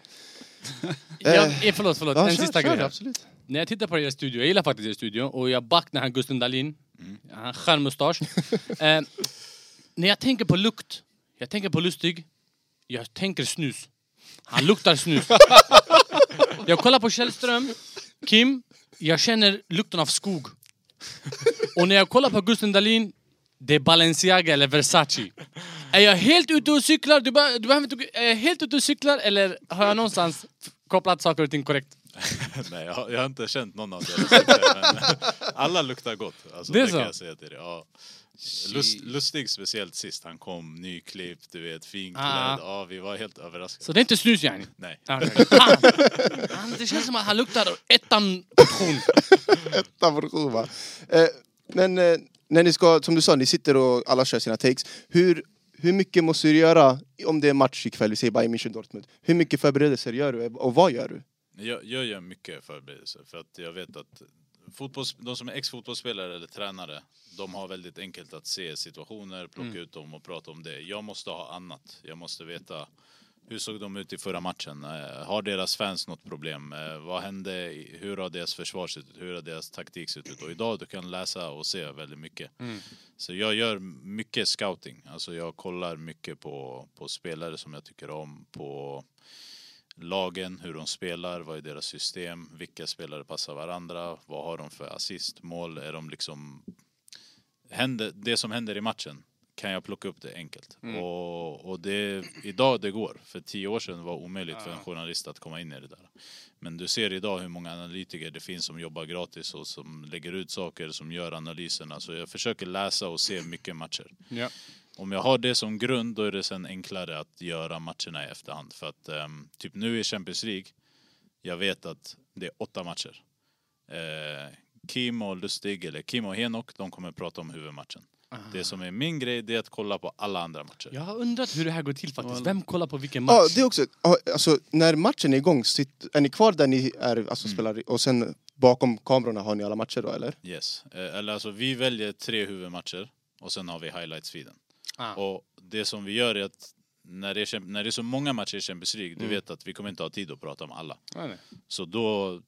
Jag, eh, förlåt, förlåt.
Ja,
en
kör,
sista
kör,
grej. här.
Absolut.
När jag tittar på er studio, jag gillar faktiskt er studio och jag back den här Gusten Dahlin. Han har skön mustasch. eh, när jag tänker på lukt, jag tänker på Lustig, jag tänker snus. Han luktar snus. jag kollar på Källström, Kim, jag känner lukten av skog. Och när jag kollar på Gusten Dahlin, det är Balenciaga eller Versace. Är jag helt ute och cyklar? Du bara, du behöver inte, är jag helt ute och cyklar eller har jag någonstans f- kopplat saker och ting korrekt?
Nej, jag, har- jag har inte känt någon av deras lukter, men alla luktar gott. Alltså,
Det
det
är så?
kan jag säga till dig. Ja. Lust, lustig speciellt sist han kom, nyklippt, du vet, finklädd.
Ah.
Ja, vi var helt överraskade.
Så det är inte snus yani?
Nej.
Ah, okej. Fan! Han, det känns som att han luktar ettan portion.
Tavorjo, va? Eh, men eh, när ni ska, som du sa, ni sitter och alla kör sina takes. Hur, hur mycket måste du göra om det är match ikväll, vi säger Bayern München Dortmund? Hur mycket förberedelser gör du och vad gör du?
Jag, jag gör mycket förberedelser för att jag vet att fotbolls, de som är ex-fotbollsspelare eller tränare, de har väldigt enkelt att se situationer, plocka ut dem och prata om det. Jag måste ha annat. Jag måste veta hur såg de ut i förra matchen? Eh, Har deras fans något problem? Eh, Vad hände? i- Hur har deras försvar sett ut? Hur har deras taktik sett ut? Och idag du kan läsa och se väldigt mycket. Så jag gör mycket scouting. Alltså jag kollar mycket på, på spelare som jag tycker om, på lagen, hur de spelar, vad är deras system, vilka spelare passar varandra, vad har de för assist, mål, är de liksom... Händer, det som händer i matchen kan jag plocka upp det enkelt. Och, och det, idag det går, för tio år sedan var det omöjligt för en journalist att komma in i det där. Men du ser idag hur många analytiker det finns som jobbar gratis och som lägger ut saker, som gör analyserna. Så jag försöker läsa och se mycket matcher.
Ja.
Om jag har det som grund då är det sen enklare att göra matcherna i efterhand. För att ehm, typ nu i Champions League, jag vet att det är åtta matcher. Eh, Kim och Lustig, eller Kim och Henok, de kommer prata om huvudmatchen. Det som är min grej, det är att kolla på alla andra matcher.
Jag har undrat hur det här går till faktiskt. Vem kollar på vilken
Ja,
match?
det är också, ja, alltså när matchen är igång, sitt, är ni kvar där ni är, alltså spelar, och sen bakom kamerorna har ni alla matcher då, eller?
Yes. Eh, eller alltså, vi väljer tre huvudmatcher och sen har vi highlights-feeden.
Ah.
Och det som vi gör är att när det är, kämp- när det är så många matcher i Champions League, du vet att vi kommer inte ha tid att prata om alla.
Ja, Mm. nej.
Så då,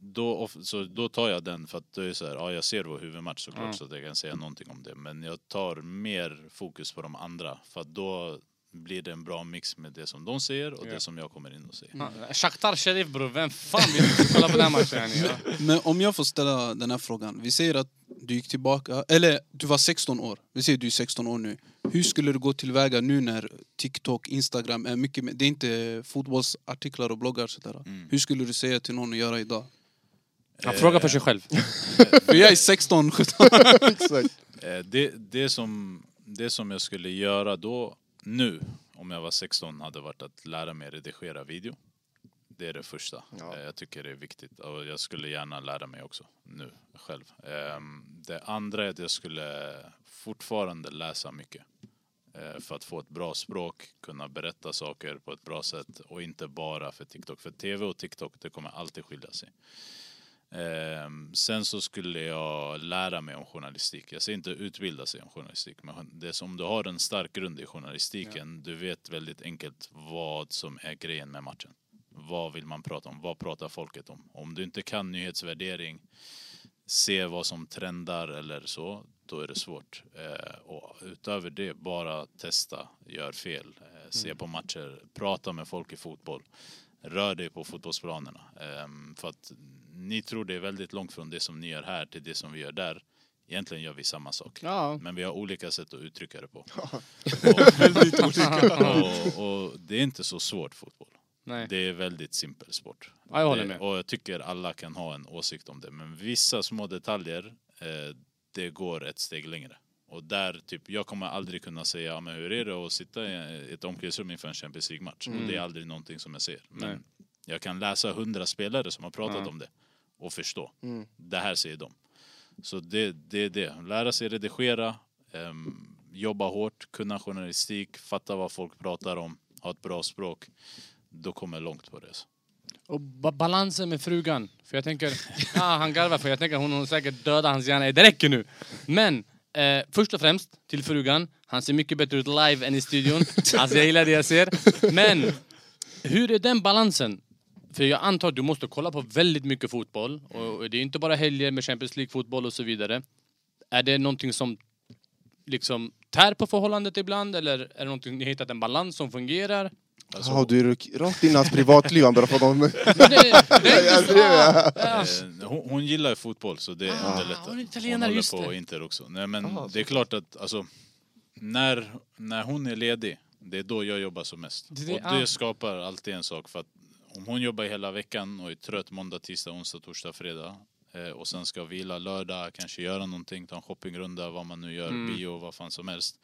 då, off- så då tar jag den för att då är det så här, ja jag ser vår huvudmatch såklart
Mm.
så att jag kan säga någonting om det. Men jag tar mer fokus på de andra för att då blir det en bra mix med det som de ser och det som jag kommer in och ser.
Ja, Shakhtar Sheriff bror, vem fan vill kolla på den här matchen? yani, Ja.
Men om jag får ställa den här frågan. Vi säger att du gick tillbaka, eller du var 16 år. Vi säger du är 16 år nu. Hur skulle du gå tillväga nu när TikTok, Instagram är mycket mer, det är inte fotbollsartiklar och bloggar sådär. Hur skulle du säga till någon att göra idag?
Han frågar för sig själv.
För jag är 16, 17.
Exakt.
Eh, Det, det, som, det som jag skulle göra då, nu, om jag var 16, hade varit att lära mig redigera video. Det är det första.
Ja.
Eh, Jag tycker det är viktigt och jag skulle gärna lära mig också nu själv. Ehm, Det andra är att jag skulle fortfarande läsa mycket. Eh, För att få ett bra språk, kunna berätta saker på ett bra sätt och inte bara för TikTok. För TV och TikTok, det kommer alltid skilja sig. Ehm, sen så skulle jag lära mig om journalistik. Jag säger inte utbilda sig om journalistik, men det som du har en stark grund i journalistiken, du vet väldigt enkelt vad som är grejen med matchen. Vad vill man prata om? Vad pratar folket om? Om du inte kan nyhetsvärdering, se vad som trendar eller så, då är det svårt. Eh, och utöver det, bara testa, gör fel, eh, se på matcher, prata med folk i fotboll, rör dig på fotbollsplanerna. Eh, för att ni tror det är väldigt långt från det som ni gör här till det som vi gör där. Egentligen gör vi samma sak,
Ja.
men vi har olika sätt att uttrycka det på.
Väldigt olika.
Och, och det är inte så svårt fotboll.
Nej.
Det är väldigt simpel sport.
Ja, jag håller
Det-
med.
Eh, Och jag tycker alla kan ha en åsikt om det. Men vissa små detaljer, eh, det går ett steg längre. Och där, typ, jag kommer aldrig kunna säga, "Ja, men hur är det att sitta i ett omklädningsrum inför en Champions League-match? Och det är aldrig någonting som jag ser. Men
Mm. Nej.
jag kan läsa hundra spelare som har pratat om det och förstå.
Mm.
Det här säger de. Så det, det är det. Lära sig redigera, ehm, jobba hårt, kunna journalistik, fatta vad folk pratar om, ha ett bra språk. Då kommer jag långt på det. alltså.
Och ba balansen med frugan. För jag tänker, ah, han garvar för jag tänker hon, hon säkert dödar hans hjärna. Det räcker nu. Men eh, först och främst till frugan. Han ser mycket bättre ut live än i studion. Alltså jag gillar det jag ser. Men hur är den balansen? För jag antar att du måste kolla på väldigt mycket fotboll. Och det är inte bara helger med Champions League-fotboll och så vidare. Är det någonting som liksom tär på förhållandet ibland? Eller är det någonting ni har hittat en balans som fungerar?
Alltså,
Jaha, du är rak- rakt in i hans privatliv, han börjar fråga om...
Men det, det är
Jag
inte så...
drev, ja.
Ja.
eh, hon, hon gillar ju fotboll så det
Ah,
underlättar.
hon är italienare,
håller
just
på
det.
Inter också. Nej men
Ah,
det är klart att alltså, när, när hon är ledig, det är då jag jobbar som mest.
Det- det-
och det
ah.
skapar alltid en sak för att om hon jobbar hela veckan och är trött måndag, tisdag, onsdag, torsdag, fredag eh, och sen ska vila lördag, kanske göra någonting, ta en shoppingrunda, vad man nu gör,
Mm.
bio, vad fan som helst.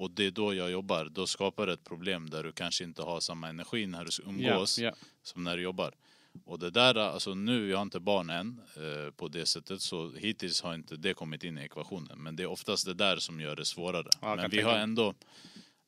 Och det är då jag jobbar, då skapar det ett problem där du kanske inte har samma energi när du umgås
ja.
som när du jobbar. Och det där, alltså nu, jag har inte barn än eh, på det sättet så hittills har inte det kommit in i ekvationen. Men det är oftast det där som gör det svårare.
Ja, jag
Men
kan
vi
tänka
har
mig.
ändå,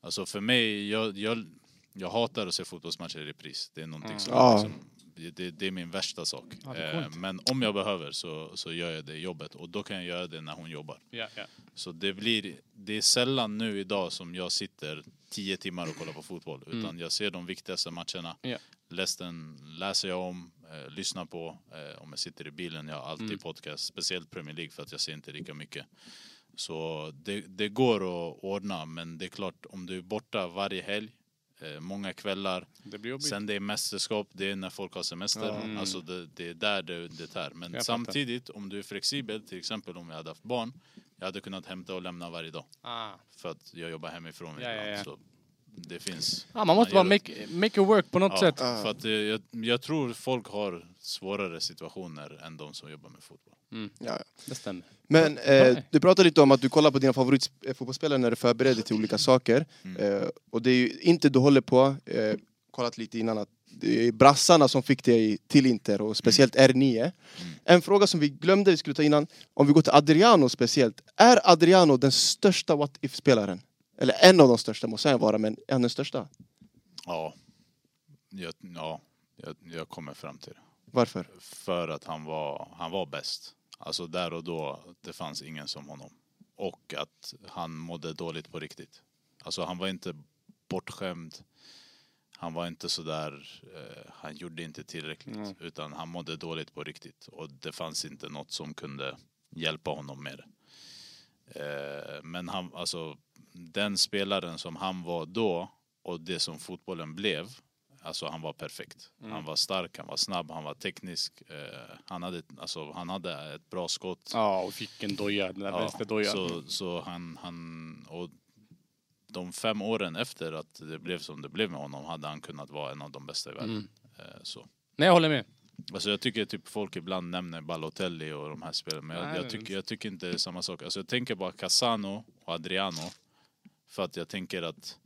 alltså för mig, jag, jag, jag hatar att se fotbollsmatcher i repris. Det är någonting som,
Ja.
liksom, det- det, det är min värsta sak.
Mm. Ja, det är coolt.
Eh, men om jag behöver så, så gör jag det jobbet och då kan jag göra det när hon jobbar.
Ja, ja.
Så det blir, det är sällan nu idag som jag sitter tio timmar och kollar på fotboll. Utan jag ser de viktigaste matcherna.
Ja.
Resten läser jag om, eh, lyssnar på. Eh, om jag sitter i bilen, jag har alltid podcast. Speciellt Premier League för att jag ser inte lika mycket. Så det, det går att ordna, men det är klart om du är borta varje helg, eh, många kvällar.
Det blir jobbigt.
Sen det är mästerskap, det är när folk har semester.
Mm.
Ja.
Alltså det, det är där det, det tär. Men
Jag fattar.
samtidigt, om du är flexibel, till exempel om jag hade haft barn, jag hade kunnat hämta och lämna varje dag.
Ah.
För att jag jobbar hemifrån
Ja, ja,
ibland.
ja.
Så det finns.
Ah, man måste
gör
bara make, make it work på något
Ja,
sätt.
för att eh, jag, jag tror folk har svårare situationer än de som jobbar med fotboll.
Ja, ja.
Det stämmer.
Men eh,
Nej.
du pratade lite om att du kollar på dina favoritfotbollsspelare när du förbereder till olika saker. Eh, och det är ju inte du håller på, eh, kollat lite innan, att det är brassarna som fick dig till Inter och speciellt R9. En fråga som vi glömde vi skulle ta innan, om vi går till Adriano speciellt. Är Adriano den största what if-spelaren? Eller en av de största måste han vara, men en av den största.
Ja, jag, ja jag, jag kommer fram till det.
Varför?
för att han var, han var bäst. Alltså där och då, det fanns ingen som honom. Och att han mådde dåligt på riktigt. Alltså han var inte bortskämd. Han var inte sådär, eh, han gjorde inte tillräckligt. Utan han mådde dåligt på riktigt. Och det fanns inte något som kunde hjälpa honom med det. Eh, men han, alltså den spelaren som han var då och det som fotbollen blev. Alltså han var perfekt. Han var stark, han var snabb, han var teknisk. Eh, han, hade, alltså, han hade ett bra skott.
Ja, och vilken doja. Den där
Ja,
vänsterdojan.
så, så han, han, och de fem åren efter att det blev som det blev med honom hade han kunnat vara en av de bästa i världen.
Mm.
Eh, så.
Nej, jag håller med.
Alltså jag tycker typ folk ibland nämner Balotelli och de här spelarna, men
Nej,
jag,
men-
jag, tycker, jag tycker inte det är samma sak. Alltså jag tänker bara Cassano och Adriano, för att jag tänker att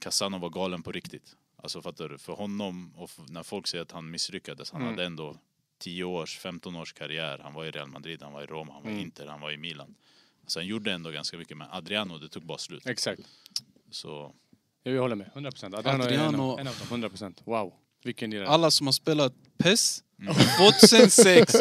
Cassano var galen på riktigt. Alltså fattar du? För honom, och f- när folk säger att han misslyckades,
Mm.
han hade ändå 10 års, 15 års karriär. Han var i Real Madrid, han var i Rom, han
Mm.
var i Inter, han var i Milan. Alltså han gjorde ändå ganska mycket, men Adriano, det tog bara slut.
Exakt.
Så
Jo, Jag håller med. 100 procent. Adriano, Adriano. Är en, av,
Adriano.
en av dem. 100 procent. Wow. Vilken lirare.
Alla som har spelat PES 2006.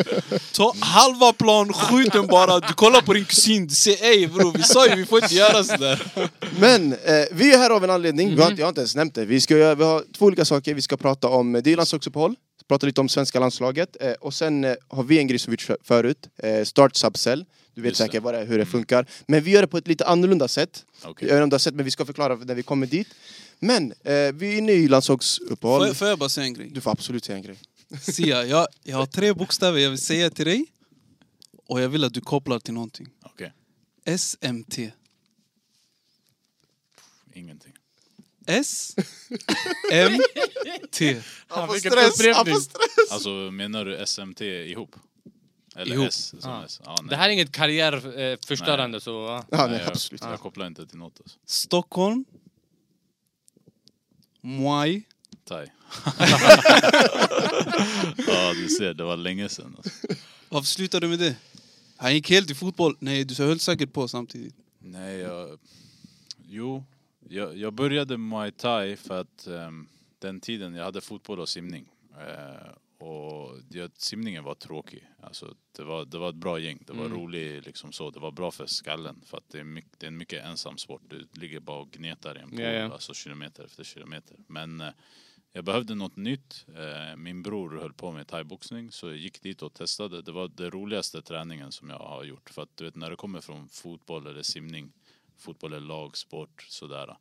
Ta halva plan, skjut den bara. Du kollar på din kusin, du säger ey bror, vi sa ju vi får inte göra sådär.
Men eh, vi är här av en anledning, vi har, inte- jag har inte ens nämnt det. Vi, ska, göra- vi har två olika saker vi ska prata om. eh, Det är landslagsuppehåll, prata lite om svenska landslaget eh, och sen eh, har vi en grej som vi kört förut, eh, Start Subcell. Du vet
Just det.
säkert vad det är, hur det funkar. Men vi gör det på ett lite annorlunda sätt.
Okej.
Jag vet inte om du har sett, men vi ska förklara när vi kommer dit. Men eh, vi är inne i landslagsuppehåll.
Får, jag- får jag bara säga en grej?
Du får absolut säga en grej.
Sia, jag, jag har tre bokstäver jag vill säga till dig. Och jag vill att du kopplar till någonting.
okej,
SMT.
ingenting.
S. M. T.
Han
får
fick en
stress, han
upprepning.
får stress!
Alltså menar du SMT ihop? Eller
Ihop.
S som
Ja.
S? Ja, nej.
Det här är inget karriärförstörande så... ja.
Ja,
Nej,
nej,
jag,
absolut.
Eh, Jag kopplar inte till något. Alltså.
Stockholm. Muay.
Thai. ja, du ser, det var länge sedan. Alltså.
Varför slutade du med det? Han gick helt i fotboll. Nej, du höll säkert på samtidigt.
Nej, jag... Jo, jag, jag började muay thai för att ehm, den tiden jag hade fotboll och simning. Eh, och jag, simningen var tråkig. Alltså, det, var, det var ett bra gäng, det
Mm.
var roligt liksom så. Det var bra för skallen för att det är, mycket, det är en mycket ensam sport. Du ligger bara och gnetar i en pool,
Ja, ja.
alltså kilometer efter kilometer. Men eh, jag behövde något nytt. Eh, Min bror höll på med thaiboxning så jag gick dit och testade. Det var den roligaste träningen som jag har gjort. För att du vet när du kommer från fotboll eller simning Fotboll är lagsport, sådär.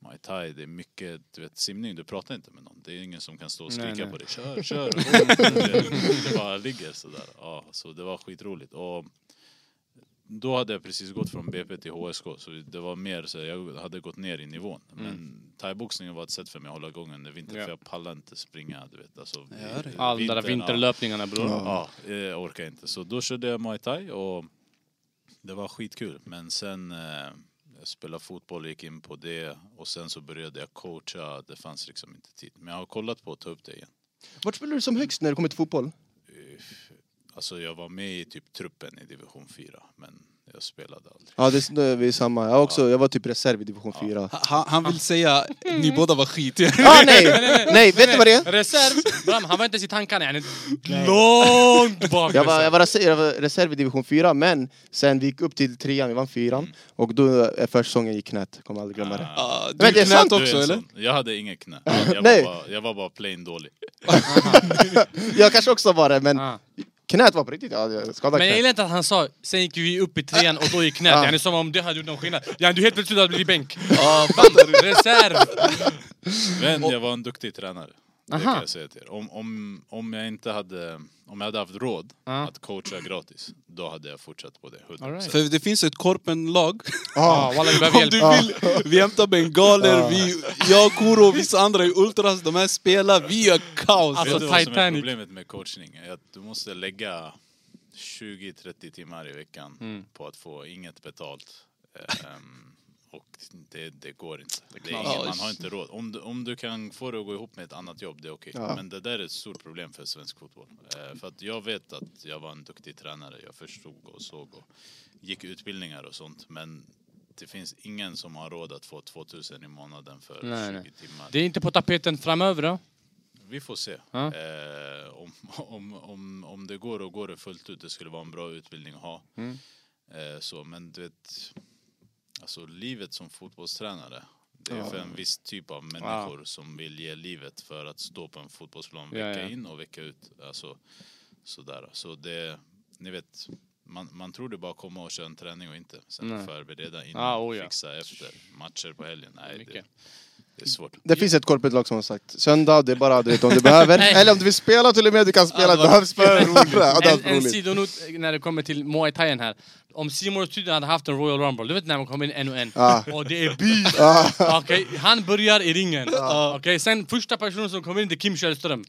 Muay thai, det är mycket, du vet simning, du pratar inte med någon. Det är ingen som kan stå och
Nej,
skrika
nej.
på dig. Kör, kör! det, det bara ligger sådär. Ja, så det var skitroligt. Och då hade jag precis gått från BP till HSK så det var mer så jag hade gått ner i nivån. Men thaiboxningen var ett sätt för mig att hålla igång under vintern
Mm. Ja.
för jag pallar inte springa du vet. Alltså,
Ja, det-
i- i
All där
vintern, ja.
vinterlöpningarna bror.
Ja, eh, jag orkar inte. Så då körde jag Muay Thai och det var skitkul. Men sen eh, jag spelade fotboll, gick in på det och sen så började jag coacha. Det fanns liksom inte tid. Men jag har kollat på att ta upp det igen.
Vart spelar du som högst när det kommer till fotboll?
Alltså jag var med i typ truppen i division 4 men jag spelade aldrig.
Ja, det är, det är vi samma. Jag, också, jag var typ reserv i division 4.
Ha- ha- Han vill säga, ni båda var skit.
Ah, nej! Nej, vet du vad det är?
Reserv! Bram, han var inte ens i tankarna. Han är långt bak.
Jag var, jag, var reserv, jag var reserv i division 4, men sen vi gick upp till trean, vi vann fyran. Och då, eh, försäsongen gick knät, kommer aldrig glömma det.
Ah,
Men det är
knät
sant.
Du är
också
en
eller?
sån. Jag hade inget knä. Jag,
Nej.
var, bara, jag var bara plain dålig.
Jag kanske också var det, men
Ah.
knät var på riktigt, ja, jag skadade
Men jag
knät.
gillar inte att han sa, sen gick vi upp i trean och då gick knät.
Ah.
Ja.
Ja. Som om det hade gjort någon skillnad. Ja, du helt plötsligt hade blivit bänk.
Ja,
Reserv!
Men jag var en duktig tränare. Det kan
Aha.
jag säga till er. Om, om, om jag inte hade, om jag hade haft råd
Ja.
att coacha gratis, då hade jag fortsatt på det. 100%.
All right.
För det finns ett korpenlag.
Ja,
Ja.
walla vi Ah, behöver
Ah. Om
hjälp.
du vill, vi hämtar bengaler, vi, jag, Kuro och vissa andra i Ultras, de här spelar, vi gör kaos.
Vet
Alltså,
du vad som är
Titanic.
problemet med coachning? Är att du måste lägga 20-30 timmar i veckan
Mm.
på att få inget betalt. Ehm, och det, det går inte. Det är
knallar.
inget, man
Ja,
har inte råd. Om du, om du kan få det att gå ihop med ett annat jobb, det är okej.
Ja.
Men det där är ett stort problem för svensk fotboll. Eh, för att jag vet att jag var en duktig tränare. Jag förstod och såg och gick utbildningar och sånt. Men det finns ingen som har råd att få 2000 i månaden för
Nej,
20
nej.
timmar.
Det är inte på tapeten framöver då?
Vi får se.
Ja.
Eh, om, om, om, om det går och går det fullt ut, det skulle vara en bra utbildning att ha.
Mm.
Eh, så, men du vet, alltså livet som fotbollstränare, det är för en viss typ av människor som vill ge livet för att stå på en fotbollsplan
Ja,
vecka
ja.
in och vecka ut. Alltså, sådär. Så det, ni vet, man, man tror det bara komma och köra en träning och inte. Sen
Nej.
förbereda innan,
Ah, oh ja.
fixa efter, matcher på helgen. Nej, det,
Mycket.
det är svårt.
Det finns ett korpetlag som har sagt, söndag, det är bara du vet, om du behöver. Eller om du vill spela till och med, du kan spela,
Ja,
det
det var-
behövs för Ja, det hade
En,
varit
en
roligt.
sidonot när det kommer till Muay Thai här. Om Simon Studion hade haft en Royal Rumble, du vet när man kommer in en och en.
Ja.
Och det är beef! Okej, han börjar i ringen. Okej, sen första personen som kommer in det är Kim Källström.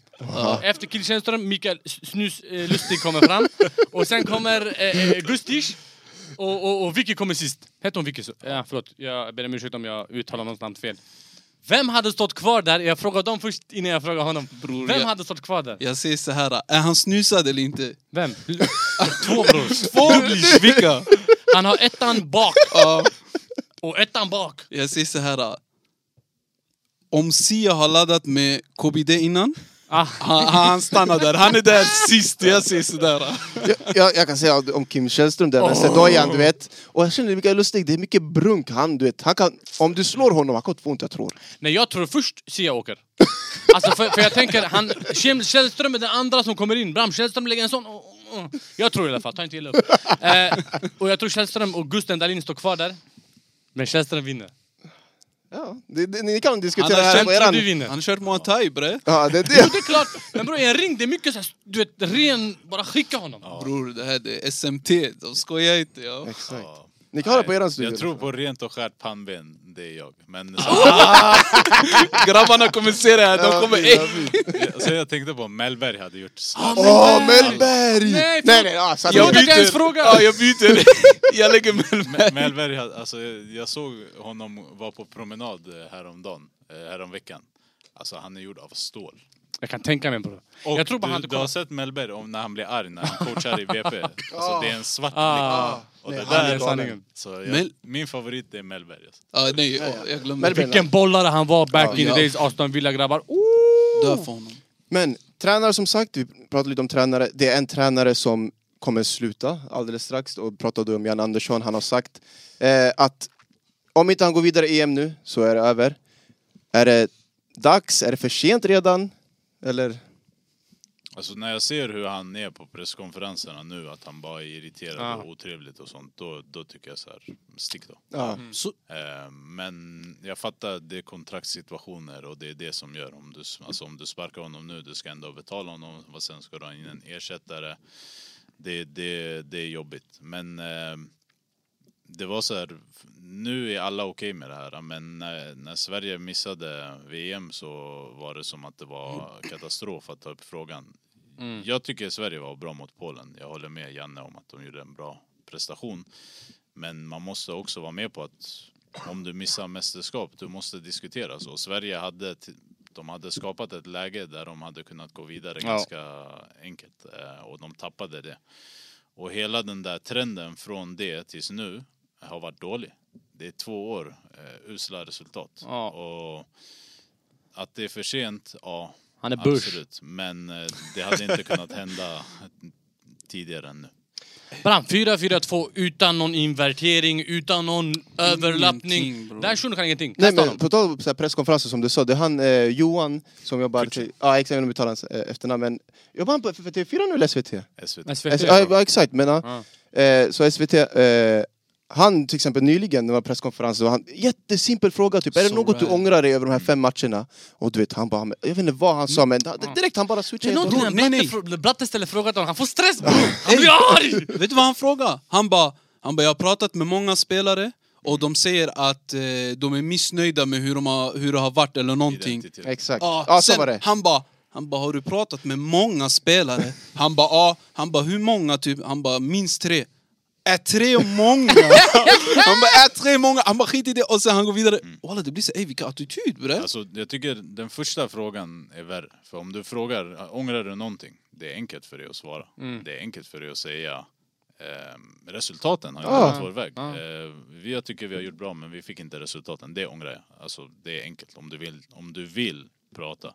Efter Kim Källström, Mikael S- Snus eh, Lustig kommer fram. och sen kommer eh, eh, Gustis. Och, och, och Vicky kommer sist. Hette hon Vicky? Så? Ja, förlåt. Jag ber om ursäkt om jag uttalar någons namn fel. Vem hade stått kvar där? Jag frågade dem först innan jag frågade honom.
Bror,
Vem
jag-
hade stått kvar där?
Jag säger så här, är han snusad eller inte?
Vem? Två bror.
Fåglis, vilka?
Han har ettan bak
Ja,
och ettan bak.
jag säger så här, om Sia har laddat med KBD innan,
Ah.
han, han stannar där. Han är där sist, jag säger sådär.
Jag, jag, jag kan säga om Kim Källström där med Sedoyan, du vet. Och jag känner det är mycket lustigt, det är mycket brunk han, du vet. Han kan, om du slår honom, han kommer inte få ont, jag tror.
Nej, jag tror först Sia åker. Alltså för, för jag tänker, han, Kim Källström är den andra som kommer in. Bram Källström lägger en sån. oh, oh, oh. Jag tror i alla fall, ta inte illa upp. Eh, och jag tror Källström och Gusten Dahlin står kvar där. Men Källström vinner.
Ja, det, det, ni kan diskutera
Han
det
har
här
känt
på
Tror du
eran...
vinner?
Han har kört muay thai bre.
Ja, det är det.
Det är klart, men bror i en ring det är mycket så här, du vet, ren, bara skicka honom.
Bror, det här det är SMT, de skojar inte. Ja.
Exakt.
Ja.
Ni kan ha det
Nej,
på eran studio.
Jag tror på rent och skärt pannben, det är jag. Men
Oh!
Grabbarna kommer se det här, de kommer...
fint,
Ey.
sen jag tänkte på Mellberg hade gjort
Ah!
slag.
Åh, Mellberg!
Nej,
Nej,
förlåt.
nej, ja, sant.
Jag vet inte ens fråga.
Ja, jag byter. Jag lägger Mellberg.
Mellberg, hade- alltså, jag såg honom vara på promenad eh, häromdagen, eh, häromveckan. Alltså han är gjord av stål.
Jag kan tänka mig bror.
Och
Jag tror bara han
du,
hade
du har
kollat.
sett Mellberg om när han blir arg när han coachar i BP. Alltså det är en svart
Ah.
blick. Och
Nej,
det
han
där
är
är
galen.
sanningen. Så jag,
Mel-
min favorit är Mellberg. Alltså.
Ja, nej, ja, jag glömde.
Mellberg.
Vilken bollare han var back in
Ja.
the days, Aston Villa grabbar. Oh!
Dö för honom.
Men tränare som sagt, vi pratade lite om tränare. Det är en tränare som kommer sluta alldeles strax och pratade om Jan Andersson. Han har sagt eh, att om inte han går vidare i EM nu så är det över. Är det dags? Är det för sent redan? Eller?
Alltså när jag ser hur han är på presskonferenserna nu, att han bara är irriterad
Ja.
och otrevligt och sånt, då, då tycker jag så här, stick då.
Ja.
Så,
Eh, men jag fattar, det är kontraktssituationer och det är det som gör om du, alltså om du sparkar honom nu, du ska ändå betala honom, vad sen ska du ha in en ersättare. Det, det, det är jobbigt. Men eh, det var så här, nu är alla okej med det här, men när, när Sverige missade VM så var det som att det var katastrof att ta upp frågan.
Mm.
Jag tycker Sverige var bra mot Polen. Jag håller med Janne om att de gjorde en bra prestation. Men man måste också vara med på att om du missar mästerskap, du måste diskutera så. Sverige hade, t- de hade skapat ett läge där de hade kunnat gå vidare
Ja.
ganska enkelt eh, och de tappade det. Och hela den där trenden från det tills nu har varit dålig. Det är två år eh, usla resultat.
Ja.
Och att det är för sent, ja,
Han är Bush.
absolut. Men eh, det hade inte kunnat hända tidigare än nu.
Bram, 4-4-2 utan någon invertering, utan någon överlappning.
Ingenting, bro.
Den här shunon kan ingenting.
Nej
Kasta
men
honom.
på tal om så här presskonferenser som du sa, det är han eh, Johan som jobbar till... Ja exakt, jag vet inte om jag uttalar hans eh, efternamn men... Jobbar han på TV4 nu eller SVT?
SVT.
Men SVT.
S- ja, ja exakt, men ja.
Ja.
Eh, så SVT... Eh, han till exempel nyligen, när det var presskonferens, så var han jättesimpel fråga typ, är det
So
något du
right.
ångrar dig över de här fem matcherna? Och du vet, han bara, han- jag vet inte vad han sa men han- direkt han bara
Mm. Det är
switchade. helt och
någonting
hållet.
när
nej, nej.
Blatte fr- Blatte ställer frågan till honom, han får stress bror! Han blir arg!
vet du vad han frågade? Han bara, han bara, jag har pratat med många spelare och de säger att eh, de är missnöjda med hur, de har, hur det har varit eller någonting.
Identitet.
Exakt.
Ja,
Ja, så
sen
var det.
han bara, han bara, har du pratat med många spelare? Han bara, ja. Han bara, hur många typ? Han bara, minst tre. Är tre många? han bara, är tre många? Han bara, skit i det. Och sen han går vidare.
Mm.
Walla, det blir så, ey vilken attityd bre.
Alltså, jag tycker den första frågan är värre. För om du frågar, ångrar du någonting? Det är enkelt för dig att svara.
Mm.
Det är enkelt för dig att säga ehm, resultaten har inte
Ah.
Ja.
gått vår väg.
Ja.
Eh, vi, jag tycker vi har gjort bra men vi fick inte resultaten. Det ångrar jag. Alltså, det är enkelt om du vill, om du vill prata.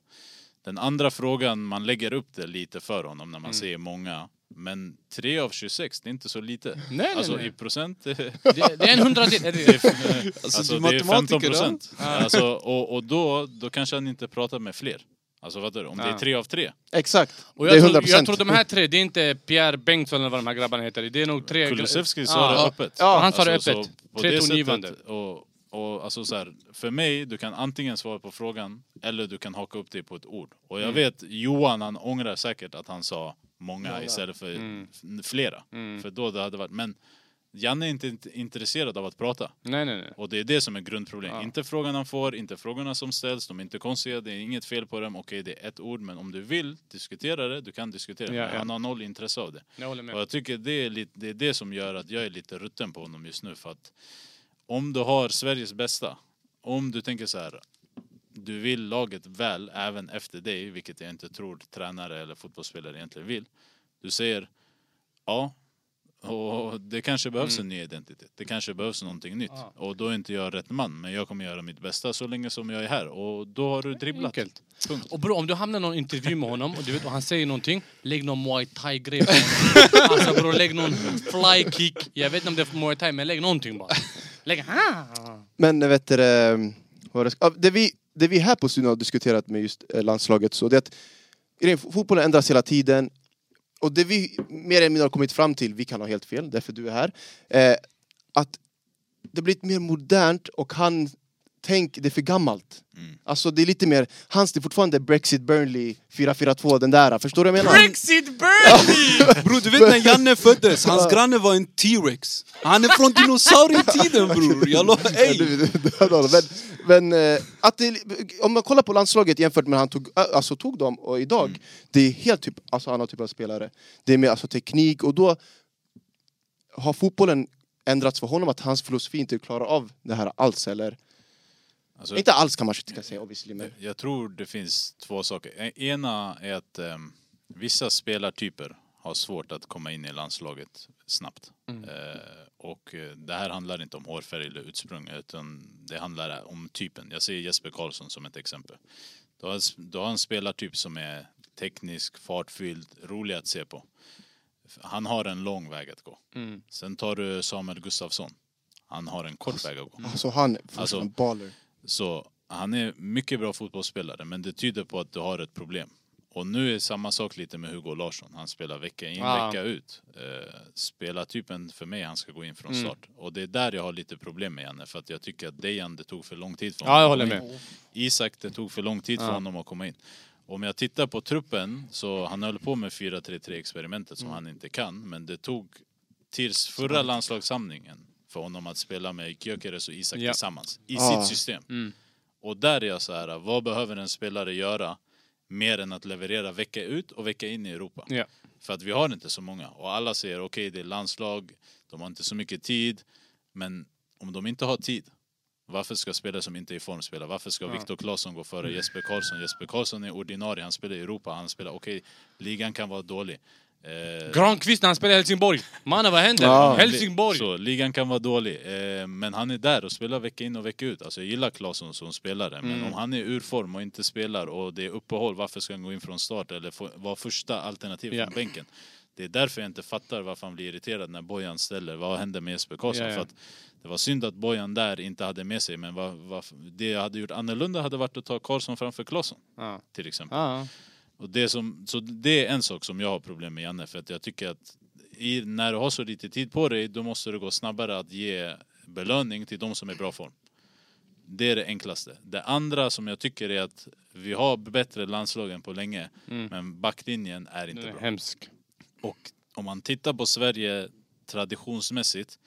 Den andra frågan, man lägger upp det lite för honom
Mm.
när man säger många. Men 3 av 26, det är inte så lite.
nej,
alltså
nej.
i procent.
Det, det är en hundradel. är
Det
det-
är, alltså,
du är
det är
matematiker,
15 procent. Alltså, och och då, då kanske han inte pratar med fler. Alltså fattar du? Om det är
Ja.
tre av tre.
Exakt.
Och
det är
jag,
100%.
tror, jag tror de här tre, det är inte Pierre Bengtsson eller vad de här grabbarna heter. Det är nog tre...
Kulusevski sa det
Ja.
öppet. Alltså,
Ja,
han sa det
så
öppet.
på
Tre
det
tongivande.
sättet- Och, och alltså så här, för mig, du kan antingen svara på frågan eller du kan haka upp dig på ett ord. Och
Mm.
jag vet, Johan han ångrar säkert att han sa många istället för
mm.
f- flera. För då det hade varit, men Janne är inte int- intresserad av att prata.
Nej, nej, nej.
Eh, Och det är det som är grundproblemet. Inte frågan han får, inte frågorna som ställs, de är inte konstiga, det är inget fel på dem. Okej, det är ett ord, men om du vill diskutera det, du kan diskutera det.
Ja,
Men
ja.
Han har noll intresse av det.
Jag håller med.
Och jag tycker det är, lite, det är det som gör att jag är lite rutten på honom just nu. För att om du har Sveriges bästa, om du tänker så här, du vill laget väl även efter dig, vilket jag inte tror tränare eller fotbollsspelare egentligen vill. Du säger ja, och det kanske behövs en ny identitet. Det kanske behövs någonting nytt.
Ja.
Och då är inte jag rätt man, men jag kommer göra mitt bästa så länge som jag är här. Och då har du dribblat.
Enkelt.
Punkt.
Och bro, om du hamnar i någon intervju med honom och, du vet, och han säger någonting, lägg någon muay thai-grej på honom. Alltså bror, lägg någon fly kick. Jag vet inte om det är muay thai, men lägg någonting bara. Lägg... Ah.
Men eh, vet du, eh, vad det, ja, det, vi, det vi här på studion har diskuterat med just eh, landslaget så det är att grejen, fotbollen ändras hela tiden och det vi mer eller mindre har kommit fram till, vi kan ha helt fel, därför du är här, eh, att det blir mer modernt och han tänk, det är för gammalt.
Mm.
Alltså det är lite mer, hans det är fortfarande Brexit Burnley 442, den där, förstår du vad jag menar?
Brexit Bernie!
Bro, du vet när Janne föddes, hans granne var en T-rex. Han är från dinosaurietiden bror. Jag lovar,
Ja,
ey.
du- du- du hörde honom. Men, men eh, att det, om man kollar på landslaget jämfört med han tog, äh, alltså, tog dem och idag, det är helt typ, alltså, annan typ av spelare. Det är mer alltså, teknik och då har fotbollen ändrats för honom att hans filosofi inte klarar av det här alls eller?
Alltså,
Inte alls kan man inte säga obviously men...
Jag- Jag tror det finns två saker. E- Ena är att ehm, vissa spelartyper har svårt att komma in i landslaget snabbt. Eh, och eh, det här handlar inte om hårfärg eller utsprung utan det handlar om typen. Jag ser Jesper Karlsson som ett exempel. Du har, du har en spelartyp som är teknisk, fartfylld, rolig att se på. Han har en lång väg att gå. Sen tar du Samuel Gustafsson. Han har en kort väg att gå.
Alltså han, alltså,
Alltså-
en baller.
Så han är mycket bra fotbollsspelare, men det tyder på att du har ett problem. Och nu är samma sak lite med Hugo Larsson. Han spelar vecka in,
Ah.
vecka ut. Eh, spelartypen för mig, han ska gå in från
Mm.
start. Och det är där jag har lite problem med Janne, för att jag tycker att Dejan, det tog för lång tid från
Ja, jag håller med.
Isak, det tog för lång tid för
Ja.
honom att komma in. Om jag tittar på truppen, så han höll på med 4-3-3-experimentet
Mm.
som han inte kan, men det tog tills förra landslagssamlingen för honom att spela med Gyökeres och Isak
Ja.
tillsammans i
Ah.
sitt system.
Mm.
Och där är jag så här, vad behöver en spelare göra mer än att leverera vecka ut och vecka in i Europa?
Ja.
För att vi har inte så många. Och alla säger, okej det är landslag, de har inte så mycket tid. Men om de inte har tid, varför ska spelare som inte är i form spela? Varför ska
Ja.
Viktor Claesson gå före Jesper Karlsson? Jesper Karlsson är ordinarie, han spelar i Europa, han spelar, okej ligan kan vara dålig. Eh,
Granqvist när han spelar i Helsingborg. Mannen, vad händer?
Ja.
Helsingborg!
så, ligan kan vara dålig, eh, men han är där och spelar vecka in och vecka ut. Alltså, jag gillar Claesson som spelare, men
Mm.
om han är ur form och inte spelar och det är uppehåll, varför ska han gå in från start eller få, vara första alternativ
Ja.
från bänken? Det är därför jag inte fattar varför han blir irriterad när Bojan ställer, vad hände med Jesper Karlsson?
Ja, ja.
För att det var synd att Bojan där inte hade med sig, men vad, vad, det jag hade gjort annorlunda hade varit att ta Karlsson framför Claesson,
Ja.
till exempel.
Ja.
Och det, som, så det är en sak som jag har problem med Janne, för att jag tycker att i, när du har så lite tid på dig, då måste det gå snabbare att ge belöning till de som är i bra form. Det är det enklaste. Det andra som jag tycker är att vi har bättre landslag än på länge, men backlinjen är inte
Den är
bra.
hemsk.
Och om man tittar på Sverige traditionsmässigt,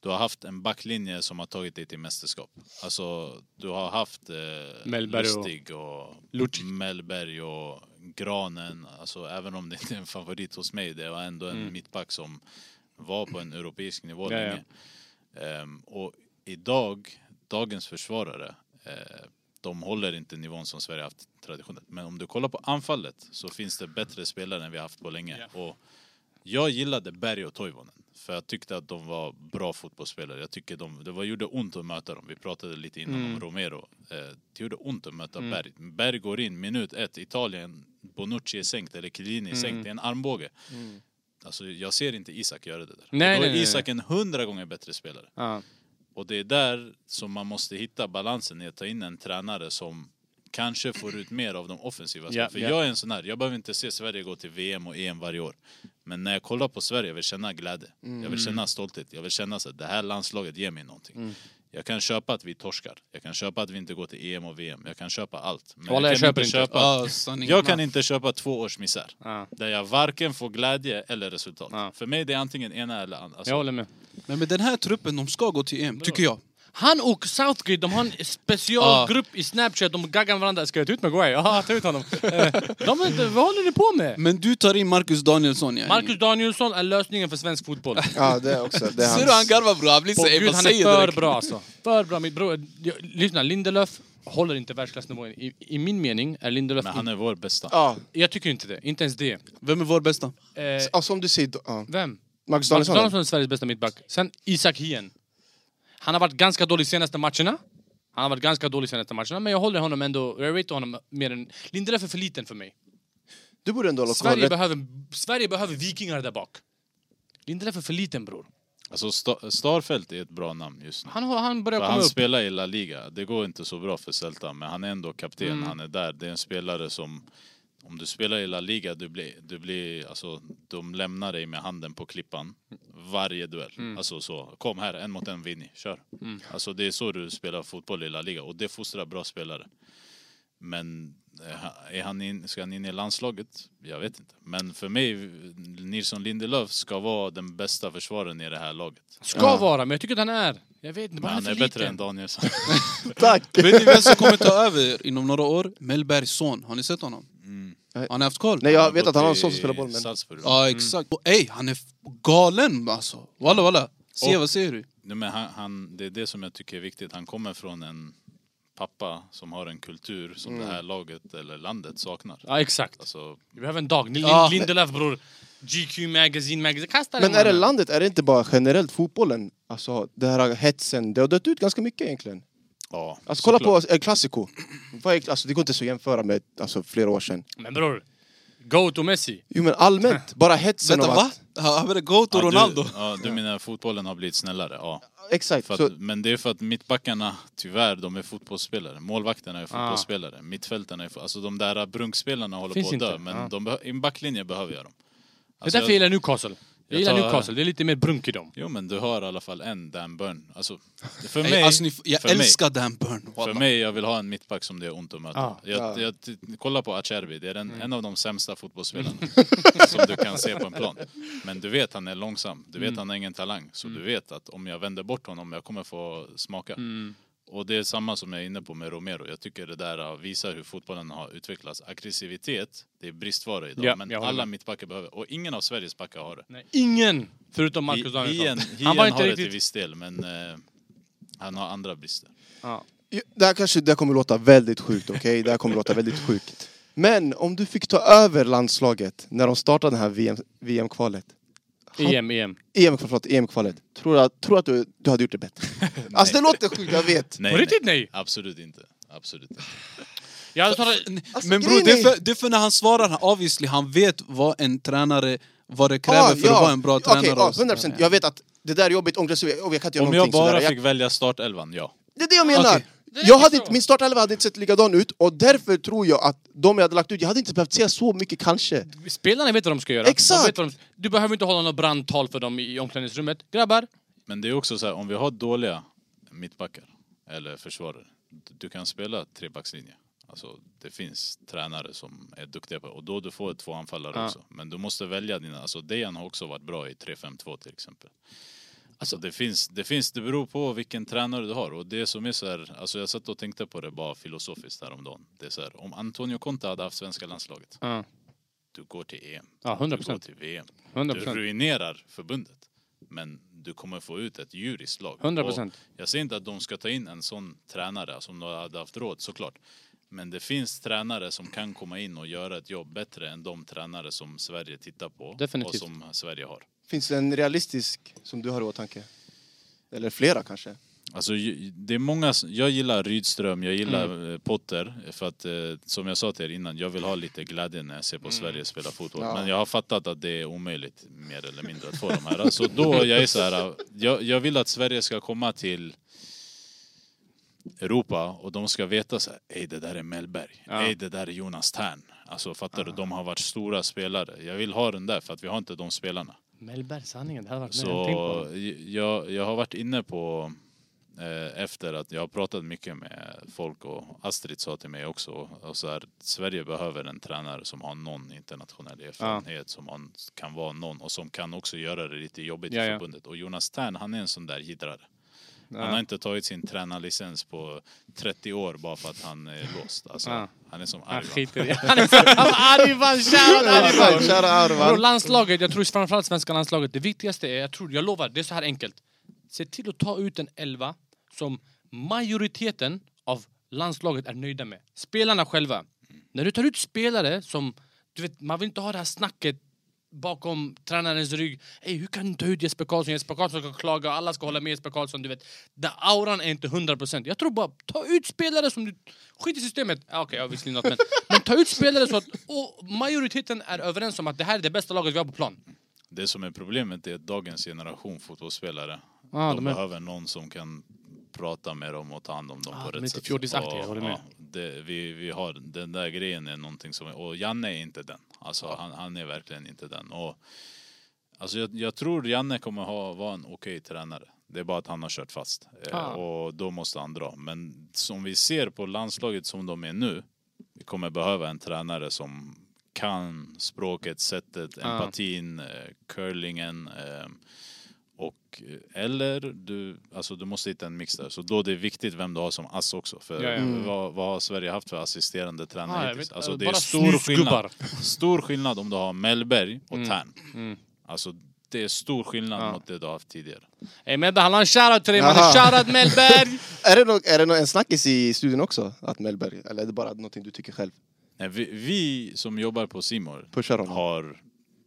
du har haft en backlinje som har tagit dig till mästerskap. Alltså, du har haft eh,
Mellberg och-
Lustig och
Lucic.
Mellberg och Granen. Alltså, även om det inte är en favorit hos mig, det var ändå en mittback som var på en europeisk nivå
Mm. Ja, ja.
länge. Ehm, och idag, dagens försvarare, eh, de håller inte nivån som Sverige haft traditionellt. Men om du kollar på anfallet så finns det bättre spelare än vi haft på länge. Och jag gillade Berg och Toivonen. För jag tyckte att de var bra fotbollsspelare. Jag tycker de, det var, gjorde ont att möta dem. Vi pratade lite innan
Mm.
om Romero. Eh, det gjorde ont att möta Berg. Berg går in minut ett, Italien, Bonucci är sänkt, eller Chiellini är
Mm.
sänkt. Det är en armbåge. Alltså, jag ser inte Isak göra det där.
Nej,
Och då
nej,
är
nej,
Isak en hundra gånger bättre spelare.
Ja.
Och det är där som man måste hitta balansen i att ta in en tränare som kanske får ut mer av de offensiva spelarna. För
ja.
jag är en sån här, jag behöver inte se Sverige gå till VM och EM varje år. Men när jag kollar på Sverige, jag vill känna glädje. Jag
Mm.
vill känna stolthet. Jag vill känna att det här landslaget ger mig någonting. Jag kan köpa att vi torskar. Jag kan köpa att vi inte går till EM och VM. Jag kan köpa allt. Men
Walla, jag
kan
köper inte.
köpa...
Ja, sanningen.
Jag kan inte köpa två års misär.
Ja.
Där jag varken får glädje eller resultat.
Ja.
För mig det är antingen ena eller andra. Alltså,
Jag håller med.
Men med den här truppen, de ska gå till EM, tycker jag.
Han och Southgate, de har en specialgrupp i Snapchat, de gaggar varandra. Ska jag ta ut Maguire? Ja, ta ut honom. Eh, de är inte, vad håller ni på med?
Men du tar in Marcus Danielsson, yani.
Marcus Danielsson är lösningen för svensk fotboll.
Ja, det är också. Det är
Ser du han
hans.
garvar bror? Han blir
Och
såhär,
gud,
vad
han är
säger
för
du?
bra alltså. För bra. Min bror, jag, lyssna, Lindelöf håller inte världsklassnivån. I, I min mening är Lindelöf...
Men han är vår bästa.
Ja,
in, jag tycker inte det. Inte ens det.
Vem är vår bästa?
Eh,
ja, som alltså, du säger. då- Ja.
vem?
Marcus
Marcus
Danielsson?
Danielsson är Sveriges bästa mittback. Sen Isak Hien. Han har varit ganska dålig senaste matcherna. Han har varit ganska dålig senaste matcherna, men jag håller honom ändå... Jag ratear honom mer än... Lindelöf är för liten för mig.
Du borde ändå hålla koll.
Sverige
rätt-
behöver, Sverige behöver vikingar där bak. Lindelöf är för liten, bror.
Alltså Sta- Starfelt är ett bra namn just nu.
Han, har- han börjar
För
komma
han
upp.
spelar i La Liga. Det går inte så bra för Celta, men han är ändå kapten. Han är där. Det är en spelare som... Om du spelar i La Liga, du blir, du blir, alltså, de lämnar dig med handen på klippan varje duell. Alltså så, kom här, en mot en, Vinny, kör. Alltså det är så du spelar fotboll i La Liga och det fostrar bra spelare. Men eh, är han in, ska han in i landslaget? Jag vet inte. Men för mig, Nilsson Lindelöf ska vara den bästa försvararen i det här laget.
Ska vara, men jag tycker att han är... Jag vet inte,
Men
bara
han är
för
bättre
liten.
än Danielsson.
Tack!
Vet ni vem som kommer ta över inom några år? Mellbergs son. Har ni sett honom?
Nej.
Har ni haft koll?
Mm. Nej, jag
gått
vet att han har en
i
son som spelar boll, men...
Salzburg.
Ja,
Mm.
exakt. Och ey, han är f- galen alltså. Walla walla. Se,
Och-
vad säger du?
Nej, men han, han, det är det som jag tycker är viktigt. Han kommer från en pappa som har en kultur som
Mm.
det här laget eller landet saknar.
Ja, exakt.
Alltså,
Vi behöver en dag. Lin-
Ja.
Lindelöf, bror. GQ Magazine, Magazine. Kasta den,
Men är det
mannen.
landet, är det inte bara generellt fotbollen? Alltså, det här hetsen, det har dött ut ganska mycket egentligen.
ja,
Alltså kolla
såklart.
på El Clasico. Vad är- Alltså, det går inte så att jämföra med alltså, flera år sedan.
Men bror, go to
Alltså,
Messi.
Jo men allmänt, bara hetsen
Vänta,
av
va?
att...
Han vill go to
Ja,
Ronaldo.
Du, ja, du menar fotbollen har blivit snällare? Ja.
Exakt.
För
Så,
att, men det är för att mittbackarna, tyvärr, de är fotbollsspelare. Målvakterna är fotbollsspelare. Mittfältarna är fo- Alltså de där brunkspelarna håller
Finns
på att dö.
inte.
Men
Ja.
de beh- i en backlinje behöver jag dem.
Det är därför
Alltså,
jag
jag,
gillar Newcastle. Jag
jag
gillar
tar-
Newcastle, det är lite mer brunk i dem.
jo men du har i alla fall en Dan Burn. Alltså, för
Nej,
mig...
alltså, ni, f- jag
för mig,
älskar Dan Burn.
Alltså,
för mig, jag vill ha en mittback som det är ont att möta.
Ah. Mm.
jag,
Ja.
jag t- kolla på Acerbi, det är den, en av de sämsta fotbollsspelarna som du kan se på en plan. Men du vet han är långsam, du vet
Mm.
han har ingen talang. Så du vet att om jag vänder bort honom, jag kommer få smaka.
Mm.
Och det är samma som jag är inne på med Romero. Jag tycker det där uh, visar hur fotbollen har utvecklats. Aggressivitet, det är bristvara idag.
Ja,
men
jag håller
alla
med.
mittbackar behöver, och ingen av Sveriges backar har det.
Nej, ingen! Förutom Marcus
Hien,
Danielsson.
Hien
Han var
har
inte
det till
riktigt...
viss del, men eh, han har andra brister.
Ja.
det här kanske det här kommer låta väldigt sjukt, okej? Det här kommer låta väldigt sjukt. Men om du fick ta över landslaget när de startade det här VM VM-kvalet.
EM, EM.
EM, E förlåt, EM-kvalet. Tror jag tror att du, du hade gjort det bättre. alltså det låter sjukt, jag vet.
Nej,
På
nej.
riktigt nej!
Absolut inte. Absolut inte.
Jag hade talat...
Alltså,
Men bror,
grejen
det, är
är-
för- det är för när han svarar, han, obviously, han vet vad en tränare, vad det kräver
Ah,
för att vara en bra
Okej,
tränare.
ja,
och så.
100%. Jag vet att det där är jobbigt, ångest, och jag kan inte göra
Om jag
någonting
bara
sådär. Jag-
fick välja startelvan, ja.
Det är det jag menar.
Okej.
Jag
lite
hade
så.
inte, min startelva hade inte sett likadan ut och därför tror jag att de jag hade lagt ut, jag hade inte behövt säga så mycket kanske.
Spelarna vet vad de ska göra.
Exakt.
De vet vad de... Du behöver inte hålla något brandtal för dem i omklädningsrummet. Grabbar,
Men det är också så här, om vi har dåliga mittbackar eller försvarare, du kan spela trebackslinje. Alltså, det finns tränare som är duktiga på det. Och då du får två anfallare
Ja.
också. Men du måste välja dina, alltså Dejan har också varit bra i 3-5-2 till exempel. Alltså det finns, det finns, det beror på vilken tränare du har. Och det som är så här, alltså jag satt och tänkte på det bara filosofiskt häromdagen. Det är så här, om Antonio Conte hade haft svenska landslaget,
Ja.
du går till EM,
Ja,
du går
100%.
till VM. Du
100%.
ruinerar förbundet. Men du kommer få ut ett djuriskt lag.
100%.
Och Jag säger inte att de ska ta in en sån tränare som de hade haft råd, såklart. Men det finns tränare som kan komma in och göra ett jobb bättre än de tränare som Sverige tittar på
Definitivt.
och som Sverige har.
Finns det en realistisk som du har i åtanke? Eller flera kanske?
Alltså, ju- det är många, s- jag gillar Rydström, jag gillar eh, Potter. För att, eh, som jag sa till er innan, jag vill ha lite glädje när jag ser på Sverige spela fotboll.
Ja.
Men jag har fattat att det är omöjligt, mer eller mindre, att få de här. Så då, jag är så här, eh, jag, jag vill att Sverige ska komma till Europa och de ska veta så här, ej det där är Mellberg,
Ja.
ej det där är Jonas Tern. Alltså fattar du, de har varit stora spelare. Jag vill ha den där för att vi har inte de spelarna.
Mellberg, sanningen. Det hade varit mer än tänkt på.
Så jag, jag har varit inne på eh, efter att jag har pratat mycket med folk och Astrid sa till mig också och så här, Sverige behöver en tränare som har någon internationell erfarenhet som han kan vara någon och som kan också göra det lite jobbigt
Ja,
i
ja.
förbundet och Jonas Tern han är en sån där jiddrare.
Ja.
Han har inte tagit sin tränarlicens på 30 år bara för att han är låst. Alltså,
Ja.
Han är som
Han
Arvan.
skiter i... Han är så... Han var Arvan, shoutout Arvan!
Kära
Bro,
Arvan.
landslaget, jag tror framförallt svenska landslaget, det viktigaste är, jag tror, jag lovar, det är så här enkelt. Se till att ta ut en elva som majoriteten av landslaget är nöjda med. Spelarna själva. När du tar ut spelare som, du vet, man vill inte ha det här snacket bakom tränarens rygg. Ey, hur kan du ta ut Jesper Karlsson? Jesper Karlsson ska klaga och alla ska hålla med Jesper Karlsson. Du vet, den auran är inte 100%. Jag tror bara, ta ut spelare som du... Skit i systemet. Ja, Okej, jag visste något men... Men ta ut spelare så att och majoriteten är överens om att det här är det bästa laget vi har på plan.
Det som är problemet är att dagens generation fotbollsspelare,
Ja,
de,
de är-
behöver någon som kan prata med dem och ta hand om dem
Ja,
på
de är
rätt
lite
sätt.
fjordisaktiga,
Och,
jag håller med.
det, vi, vi har, den där grejen är någonting som, och Janne är inte den. Alltså han, han är verkligen inte den. Och, alltså jag, jag tror Janne kommer ha, vara en okej tränare. Det är bara att han har kört fast. Eh,
Ah.
Och då måste han dra. Men som vi ser på landslaget som de är nu, vi kommer behöva en tränare som kan språket, sättet, empatin, eh, curlingen. Eh, och, eh, eller du, alltså du måste hitta en mix där. Så då det är viktigt vem du har som ass också. För
Ja, ja. Mm.
Vad, vad har Sverige haft för assisterande tränare
Ah, jag
hittills?
vet.
Alltså det är
Bara
stor
snusgubbar.
skillnad. Stor skillnad om du har Mellberg och
Mm.
Tern. Alltså det är stor skillnad mot det du har haft tidigare.
Ey Melberg, han har en shoutout till dig mannen.
Aha.
Shoutout Melberg!
Är det, någon, är det någon, en snackis i studion också? Att Mellberg, eller är det bara någonting du tycker själv?
Nej, vi, vi som jobbar på Simor
Pushar honom.
har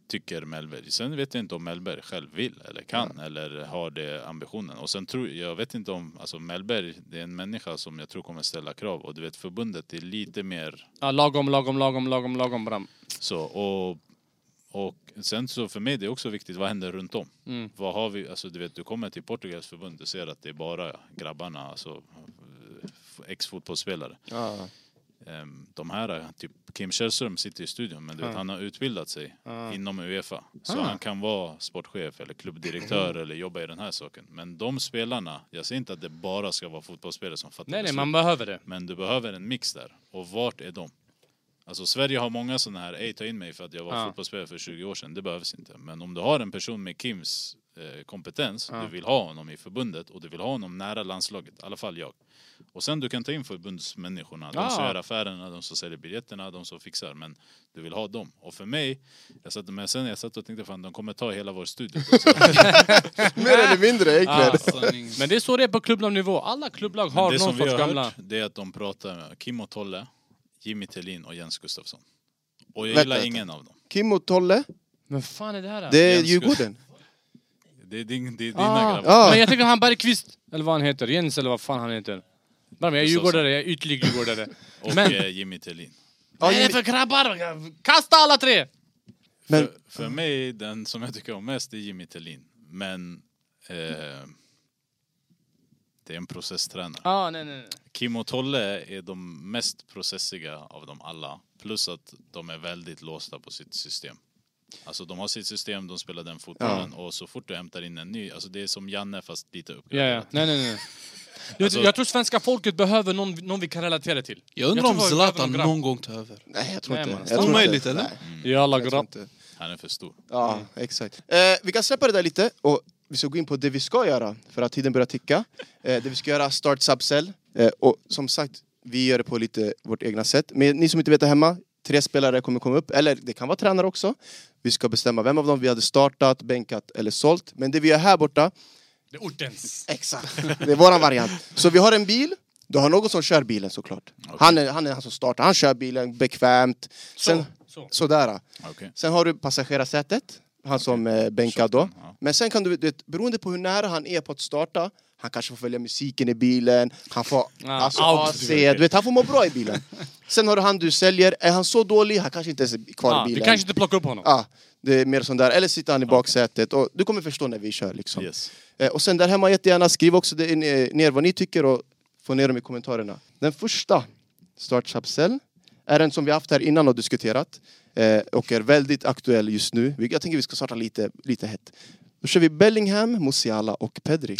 tycker Mellberg. Sen vet jag inte om Mellberg själv vill eller kan eller har det ambitionen. Och sen tror jag vet inte om, alltså Mellberg det är en människa som jag tror kommer ställa krav och du vet förbundet är lite mer
Ja, lagom, lagom, lagom, lagom, lagom bram.
så och Och sen så för mig det är också viktigt, vad händer runt om?
Mm.
Vad har vi, alltså du vet, du kommer till Portugals förbund och ser att det är bara grabbarna, alltså eh, ex-fotbollsspelare.
Ja.
Ehm, De här, typ Kim Källström sitter i studion, men du vet,
Ja.
han har utbildat sig
Ja.
inom Uefa. Så
Ah. Mm.
han kan vara sportchef eller klubbdirektör eller jobba i den här saken. Men de spelarna, jag säger inte att det bara ska vara fotbollsspelare som fattar
Nej, nej,
beslut.
man behöver det.
Men du behöver en mix där. Och vart är de? Alltså Sverige har många sådana här, ej ta in mig för att jag var
Ja.
fotbollsspelare för 20 år sedan, det behövs inte. Men om du har en person med Kims eh, kompetens,
Ja.
du vill ha honom i förbundet och du vill ha honom nära landslaget, i alla fall jag. Och sen du kan ta in förbundsmänniskorna, de som
Ja.
gör affärerna, de som säljer biljetterna, de som fixar. Men du vill ha dem. Och för mig, jag satt, men sen jag satt och tänkte fan de kommer ta hela vår studio. Så,
Mer eller mindre egentligen.
Ah. Men det är så det är på klubblagnivå. Alla klubblag har
det
någon
som vi
sorts
har
gamla...
hört, det är att de pratar med Kim och Tolle, Jimmy Tellin och Jens Gustafsson. Och jag
Vänta,
gillar
vänta.
ingen av dem.
Kim och Tolle,
Men fan är det här? alltså?
det är
Jens
Djurgården.
Det är, din, det är dina
ah,
grabbar.
Ja.
Men jag tänker han Bergqvist, eller vad han heter, Jens eller vad fan han heter. Bara, men jag är
Gustafsson.
djurgårdare, jag är ytlig djurgårdare.
Och
men-
eh, Jimmy Tellin.
Ja,
Vad är det för grabbar? Kasta alla tre!
Men-
För, för mig, den som jag tycker om mest är Jimmy Tellin. Men... Eh, det är en processtränare.
Ah, nej, nej, nej.
Kim och Tolle är de mest processiga av dem alla. Plus att de är väldigt låsta på sitt system. Alltså de har sitt system, de spelar den fotbollen och så fort du hämtar in en ny, alltså det är som Janne fast lite upp.
Ja, ja. Nej, nej, nej. Jag,
Alltså-
jag tror svenska folket behöver någon, någon vi kan relatera till.
Jag undrar
tror
om
vi behöver
Zlatan
någon grabb.
någon gång tar över.
Nej, jag tror
Nej,
inte.
man.
Jag tror inte.
Omöjligt, eller?
Nej,
Mm.
I alla
jag tror
grabb...
inte.
Han är för stor.
Ja,
Mm.
exakt. Eh, vi kan släppa det där lite och vi ska gå in på det vi ska göra för att tiden börjar ticka. Eh, det vi ska göra, start subcell. Eh, och som sagt, vi gör det på lite vårt egna sätt. Men ni som inte vet det hemma, tre spelare kommer komma upp, eller det kan vara tränare också. Vi ska bestämma vem av dem vi hade startat, bänkat eller sålt. Men det vi gör här borta,
Det är ortens.
exakt, det är våran variant. Så vi har en bil, du har någon som kör bilen såklart. Han, är, han är han som startar, han kör bilen bekvämt. Sen,
Så.
sådär.
Okej.
Sen har du passagerarsätet, han som eh, bänkar då.
Shotten, ja.
Men sen kan du, du vet, beroende på hur nära han är på att starta, han kanske får följa musiken i bilen, han får
Ah,
alltså,
out.
AC, du vet, han får må bra i bilen. Sen har du han du säljer, är han så dålig, han kanske inte ens är kvar
Ah,
i
vi
bilen.
kanske inte plockar upp honom.
Ja, det är mer sånt där. Eller sitter han i baksätet. Och du kommer förstå när vi kör liksom.
Yes.
Eh, Och sen där hemma jättegärna, skriv också det, eh, ner vad ni tycker och få ner dem i kommentarerna. Den första startchapsel är en som vi haft här innan och diskuterat eh, och är väldigt aktuell just nu. Vi- Jag tänker vi ska starta lite, lite hett. Då kör vi Bellingham, Musiala och Pedri.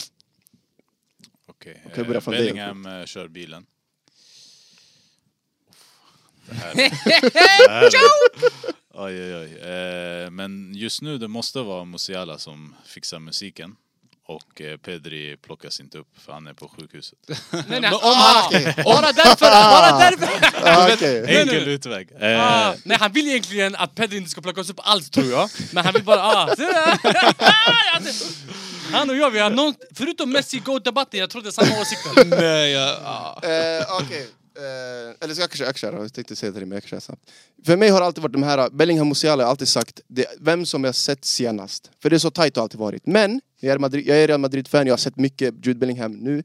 Okej.
Okej, börja
Eh,
från dig.
Bellingham eh, kör bilen. Det här- det här är- Oj, oj, oj. Eh, Men just nu det måste vara Musiala som fixar musiken. Och eh, Pedri plockas inte upp för han är på sjukhuset.
Nej, nej. Ah, bara därför! Bara därför!
Ah, okej.
nej, nej.
Enkel utväg. Eh,
Ah, nej, han vill egentligen att Pedri inte ska plockas upp alls, tror jag. Men han vill bara... Ah, se där! han och jag, vi har någon, Förutom Messi-Goat-debatten, jag trodde samma åsikter.
Nej, jag... ah.
Eh, Okej. Eh, eller ska jag kanske jag kan köra? Jag tänkte säga till dig, men jag kan köra snabbt. För mig har det alltid varit de här, eh, Bellingham och Musiala har alltid sagt det, vem som jag sett senast. För det är så tajt har det alltid varit. Men, jag är, Madrid, jag är Real Madrid-fan, jag har sett mycket Jude Bellingham nu.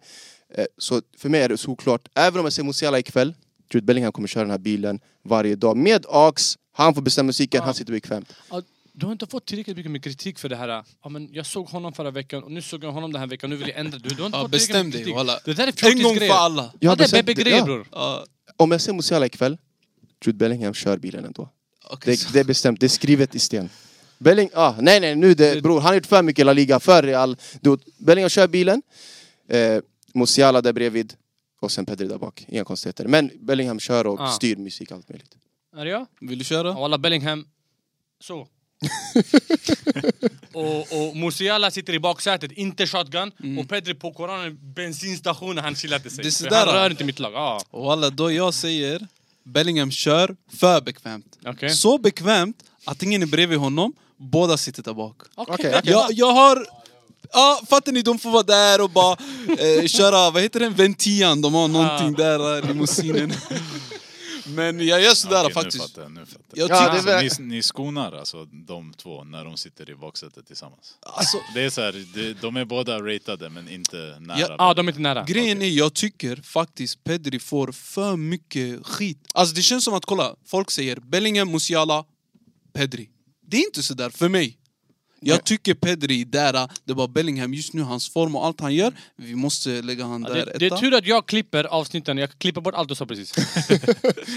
Eh, så för mig är det såklart, även om jag ser Musiala ikväll, Jude Bellingham kommer köra den här bilen varje dag med AX. Han får bestämma musiken, han sitter bekvämt.
Ja, Du har inte fått tillräckligt mycket med kritik för det här. Ja, men jag såg honom förra veckan och nu såg jag honom den här veckan. Nu vill jag ändra. Du, du har inte
Ja,
fått tillräckligt
bestäm
mycket
dig,
kritik.
walla.
Det där är fjortisgrejer.
En gång för alla.
Ja,
Jag
det
hade
är
sett-
BB-grejer
ja.
bror.
Ja,
Om jag ser Musiala ikväll, Jude Bellingham kör bilen ändå.
okej.
Det, det är bestämt, det är skrivet i sten. Belling, ah, nej nej, nu det, bror, han har gjort för mycket i La Liga, för Real. Du, Bellingham kör bilen, eh, Musiala där bredvid och sen Pedri där bak. Inga konstigheter. Men Bellingham kör och
Ah.
styr musik allt möjligt.
Är det jag?
Vill du köra?
Ja, Walla Bellingham. Så. och, och Musiala sitter i baksätet, inte shotgun. Och Pedri på Koranen bensinstation, han chillade sig.
Mm. Det är
För
sådär,
han
då.
rör inte mitt lag. Ja.
Walla, då jag säger Bellingham kör för bekvämt.
Okej.
Så bekvämt att ingen är bredvid honom, båda sitter där bak.
Okej.
Okej, okej.
Jag, jag har... Ja, fattar ni? De får vara där och bara eh, köra, vad heter den, ventian. De har någonting där, eh, limousinen. Men jag gör sådär
okej, Nu
faktiskt.
fattar jag. Nu fattar jag.
Jag
Ja,
tycker,
det är
alltså, ni, ni skonar alltså de två när de sitter i baksätet tillsammans?
alltså,
Det är så här, de, de är båda ratade men inte nära.
Ja,
Ja, ah, de är inte nära.
Grejen är, jag tycker faktiskt Pedri får för mycket skit. Alltså det känns som att, kolla, folk säger Bellingham, Musiala, Pedri. Det är inte sådär för mig. Jag tycker Pedri är där, det var Bellingham just nu, hans form och allt han gör. Vi måste lägga han
Ja,
där
det, det är
etta.
tur att jag klipper avsnitten, jag klipper bort allt du sa precis.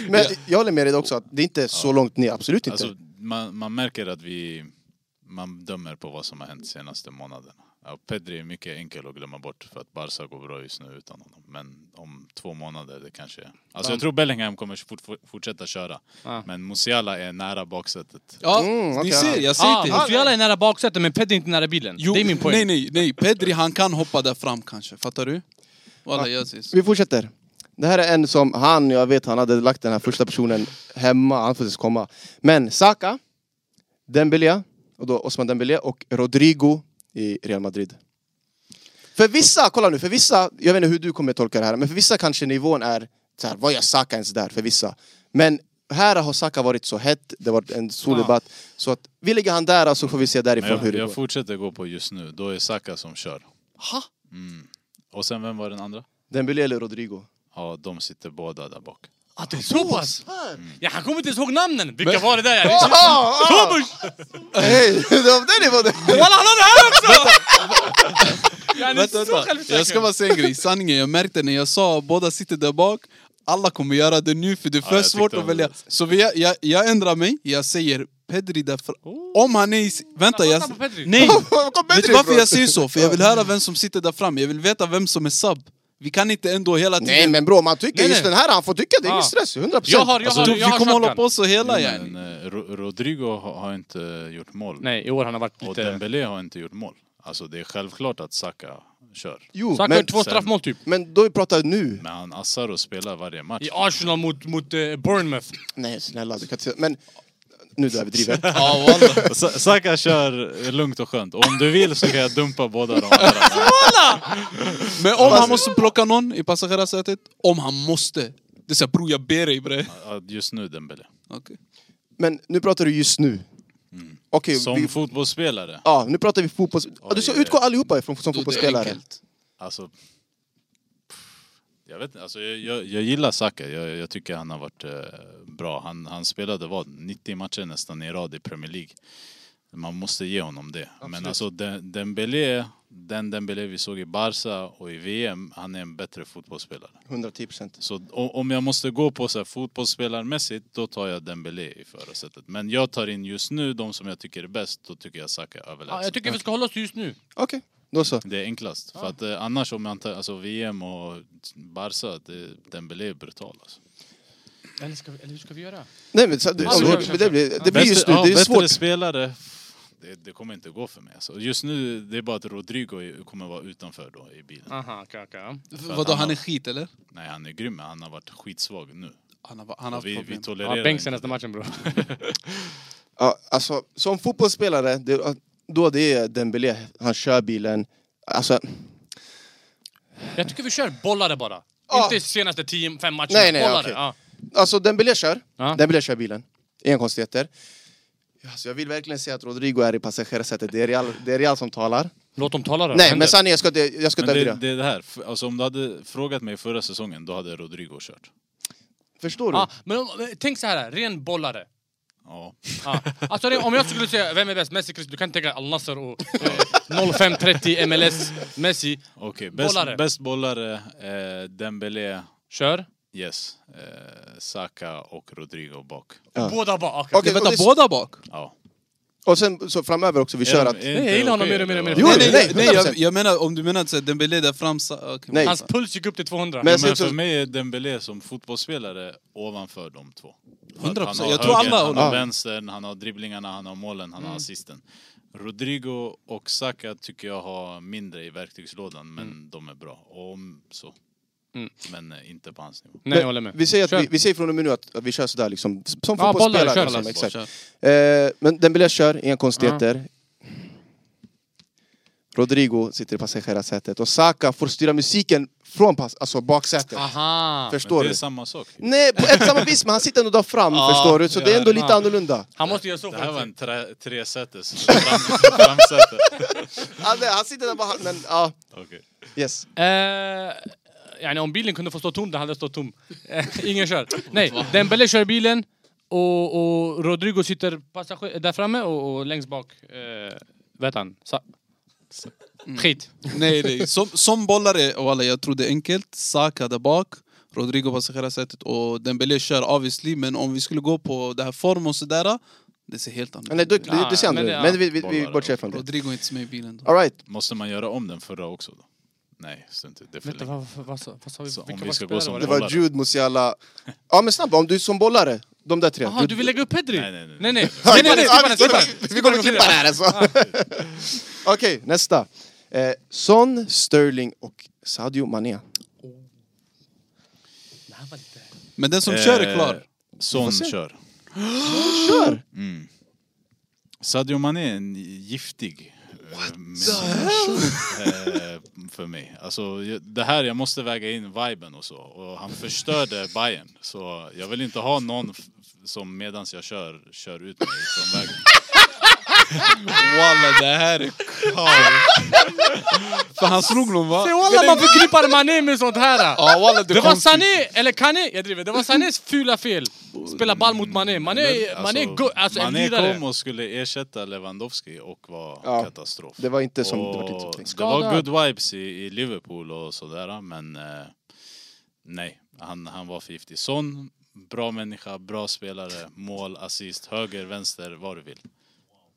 Men jag håller med dig också att det är inte så långt ner, absolut inte.
Alltså, man, man märker att vi... Man dömer på vad som har hänt senaste månaderna. Ja, Pedri är mycket enkel att glömma bort för att Barca går bra just nu utan honom. Men om två månader det kanske... Alltså jag tror Bellingham kommer fort, fort- fortsätta köra.
Ja.
Men Musiala är nära baksätet.
Ja,
Mm, okej.
ni ser, jag säger
ah,
till.
Musiala är nära baksätet men Pedri är inte nära bilen.
Jo,
det är min poäng.
Nej, nej, nej. Pedri han kan hoppa där fram kanske, fattar du? Walla, jag ser. så.
Vi fortsätter. Det här är en som han, jag vet han hade lagt den här första personen hemma, han får ses komma. Men Saka, Dembélé, och då Osman Dembélé och Rodrigo i Real Madrid. För vissa, kolla nu, för vissa, jag vet inte hur du kommer tolka det här, men för vissa kanske nivån är så här, vad gör Saka ens där för vissa? Men här har Saka varit så hett, det har varit en stor
Ja.
debatt. Så att vi lägger han där och så får vi se
Men
därifrån hur
jag,
det
jag
går.
fortsätter gå på just nu. Då är Saka som kör.
Ha?
Mm. Och sen vem var den andra?
Dembélé eller Rodrigo?
Ja, de sitter båda där bak.
Ah, det är så pass? Ja, han kommer inte ens ihåg namnen! Vilka var det där?
Hej! Det var den nivån!
Walla, han har det här också! Han är
Vänta,
så
vänta. Jag ska
självsäker.
bara säga en grej, sanningen, jag märkte när jag sa båda sitter där bak alla kommer göra det nu för det är
Ja,
för
jag tyckte
svårt
om
att
det.
välja. Så vi, jag, jag, jag ändrar mig, jag säger Pedri därför... Om han är i... s- Vänta,
Jag
jag...
fattar på Pedri.
Nej!
Var kom
Vet
Pedri
du varför
ifrån?
jag säger så? För jag vill höra vem som sitter där framme, jag vill veta vem som är sub. Vi kan inte ändå hela tiden...
Nej men bror, man tycker
Nej,
just
nej.
den här, han får tycka det, är
Ja.
ingen stress, 100%
Jag har, jag
Alltså,
har,
Du,
jag
vi
har
kommer hålla
shotgun.
på så hela yani.
Men, eh, Ro- Rodrigo har har inte gjort mål.
Nej, i år har han varit eh,
Och
lite...
Dembélé har inte gjort mål. Alltså det är självklart att Saka kör.
Jo,
Saka har
men,
två
sen-
straffmål typ.
men då vi pratar nu.
Men han assar och spelar varje match.
I Arsenal mot, mot eh, Bournemouth.
Nej snälla, du kan inte säga... Men nu du överdriver.
Ja, wallah.
Sa- Saka kör lugnt och skönt. Och om du vill så kan jag dumpa båda de
Alltså,
andra.
Men om han måste plocka någon i passagerarsätet, om han måste. Det är såhär bror jag ber dig bre.
Ja, Just nu Dembélé.
Okej.
Men nu pratar du just nu. Okej, vi...
Som fotbollsspelare.
Ja, nu pratar vi fotbolls... Ja, du ska
Oj, oj.
utgå allihopa ifrån som
Då det är
fotbollsspelare.
enkelt.
Alltså... pff, Jag vet inte, alltså jag, jag, jag gillar Saka. Jag, jag tycker han har varit eh, bra. Han, han spelade vad, 90 matcher nästan i rad i Premier League. Man måste ge honom det. Men alltså den Dembélé, den Dembélé vi såg i Barca och i VM, han är en bättre fotbollsspelare.
110%.
Så o- om jag måste gå på så här fotbollsspelarmässigt, då tar jag Dembélé i förarsätet. Men jag tar in just nu de som jag tycker är bäst, då tycker jag Saka
Ja,
överlägset.
jag tycker vi ska hålla oss just nu.
Okej, då så.
Det är enklast. För att eh, annars om man tar alltså VM och Barca, det, Dembélé är brutal alltså.
Eller, ska vi, eller hur ska vi göra?
Nej men så, det,
är
om-
svårt.
det, det, blir- det blir just nu,
ja,
det är
bättre
svårt.
spelare, det, det kommer inte gå för mig alltså. Just nu, det är bara att Rodrigo är- kommer vara utanför då i bilen.
Aha, okej, okej. ja.
Vadå, han är skit eller?
Nej, han är grym, men han har varit skitsvag nu.
Han har,
Och
han har haft
vi, vi
problem.
Ja,
tolererar
bänk
inte
senaste matchen bror.
Ja, alltså, som fotbollsspelare, det, då det är Dembélé, han kör bilen. Alltså,
Jag tycker vi kör bollare bara.
Ja.
Inte senaste 10-5 matcherna.
Nej, nej,
bollare.
okej.
Ja.
Alltså Dembélé kör.
Ja.
Dembélé kör bilen. Inga konstigheter. Alltså, jag vill verkligen säga att Rodrigo är i passagerarsätet. Det är Real, det är Real som talar.
Låt dem tala då.
Nej,
Händer.
men sanningen, jag ska inte jag ska
Men det,
överdriva.
det är det här, F- alltså om du hade frågat mig förra säsongen, då hade Rodrigo kört.
Förstår du?
Ja, men om, eh, tänk så här, ren bollare.
Ja.
Ja. Alltså, det- om jag skulle säga vem är bäst, Messi, Cristiano, du kan tänka Al Nassr och eh, 0530 MLS, Messi,
Okej, bäst
Bollare.
bollare, bäst bollare eh, Dembélé,
kör.
yes, eh, Saka och Rodrigo bak.
Ja.
Båda bara, okej.
Okej,
Okej, vänta,
och det-
båda bak?
Ja.
Och sen så framöver också, vi
Är
kör
de-
att...
är inte
Nej, jag gillar honom
okej,
mer och mer och mer.
eller
Jo,
vad?
nej, nej, nej,
100%.
nej jag, jag menar om du menar att Dembélé där fram... sa- okej.
Nej.
Hans puls gick upp till 200.
Men-
Ja,
jag ser
Men
också-
för mig är Dembélé som fotbollsspelare ovanför de två. För att
100%.
Han har
Jag tror
högern,
alla
Han
håller
har
med.
vänstern, han har dribblingarna, han har målen, han
Mm.
har assisten. Rodrigo och Saka tycker jag har mindre i verktygslådan, men de är bra. Och om så.
Mm.
Men eh, inte på hans nivå.
Nej, jag håller med.
Vi säger, att
Kör.
vi, vi säger från och med nu att, att vi kör sådär liksom, som
Ja,
fotbollsspelare.
bollar, kör,
liksom,
kör,
exakt.
kör.
Eh, men Dembélé kör, inga konstigheter. Rodrigo sitter i passagerarsätet och Saka får styra musiken från pass, alltså baksätet.
Ah, Aha.
Men
Förstår
det är
du?
samma sak.
Nej, på ett samma vis, men han sitter ändå där fram, förstår du? Så det är ändå lite
ja.
annorlunda.
Han måste göra så
Det här var
för
en tre, tresätes fram, framsäte.
Han, han sitter där bara, men ja,
Okej.
yes.
Eh, yani om bilen kunde få stå tom, den hade stått tom. Eh, Ingen kör. Nej, Dembélé kör bilen. Och, och Rodrigo sitter passager- där framme och, och längst bak, eh, vet han, sa-
Mm.
Skit.
Nej, nej. Som, som bollare, walla, jag tror det är enkelt. Saka där bak, Rodrigo passagerarsätet och Dembélé kör obviously. Men om vi skulle gå på det här form och sådär, det ser helt annorlunda
Nej,
ut.
det, det, det ser
Ja,
annorlunda
men
ut.
det-
Men vi, vi, vi
Bollar
bortser från det.
Rodrigo är inte med i bilen. Då.
All right.
Måste man göra om den förra också då? Nej, så inte. Det är för
Vänta,
länge.
vad, vad, vad, sa- vad sa vi?
Så om
Vilka
vi
var
ska gå
spelare
som
var
Det
det?
var
Bollare.
Jude, Musiala... Ja men snabbt, om du som bollare, de där tre.
Jaha, du vill lägga upp Pedri?
Nej, nej, nej.
nej. nej,
Ja,
nej, nej, nej
ja,
skippa den, skippa den.
vi- Vi kommer klippa det här alltså. Okej, nästa. Eh, Son, Sterling och Sadio Mané.
Det här var lite-
Men den som kör är
Eh,
klar.
Son
se.
kör.
Kör!
Mm. Sadio Mané är en giftig eh, människa. Eh, för mig. Alltså, jag- det här, jag måste väga in viben och så. Och han förstörde Bayern. Så jag vill inte ha någon f- som medans jag kör, kör ut mig från vägen.
Walla, det här är För han slog någon va?
Se walla man förknippar Mané med sånt här!
Ja, walla, det,
Det var
kom-
Sané, eller Kané, jag driver. Det var Sanés fula fel. Spela ball mot Mané. Mané,
Men,
Mané, är go- alltså en
Mané
lirare.
kom och skulle ersätta Lewandowski och var
Ja,
katastrof.
Det var inte som det var
Och
tänkt.
Alltså,
det var
Skadad.
good vibes i, i Liverpool och sådär, men eh, nej, han, han var för giftig. Son, bra människa, bra spelare, mål, assist, höger, vänster, vad du vill.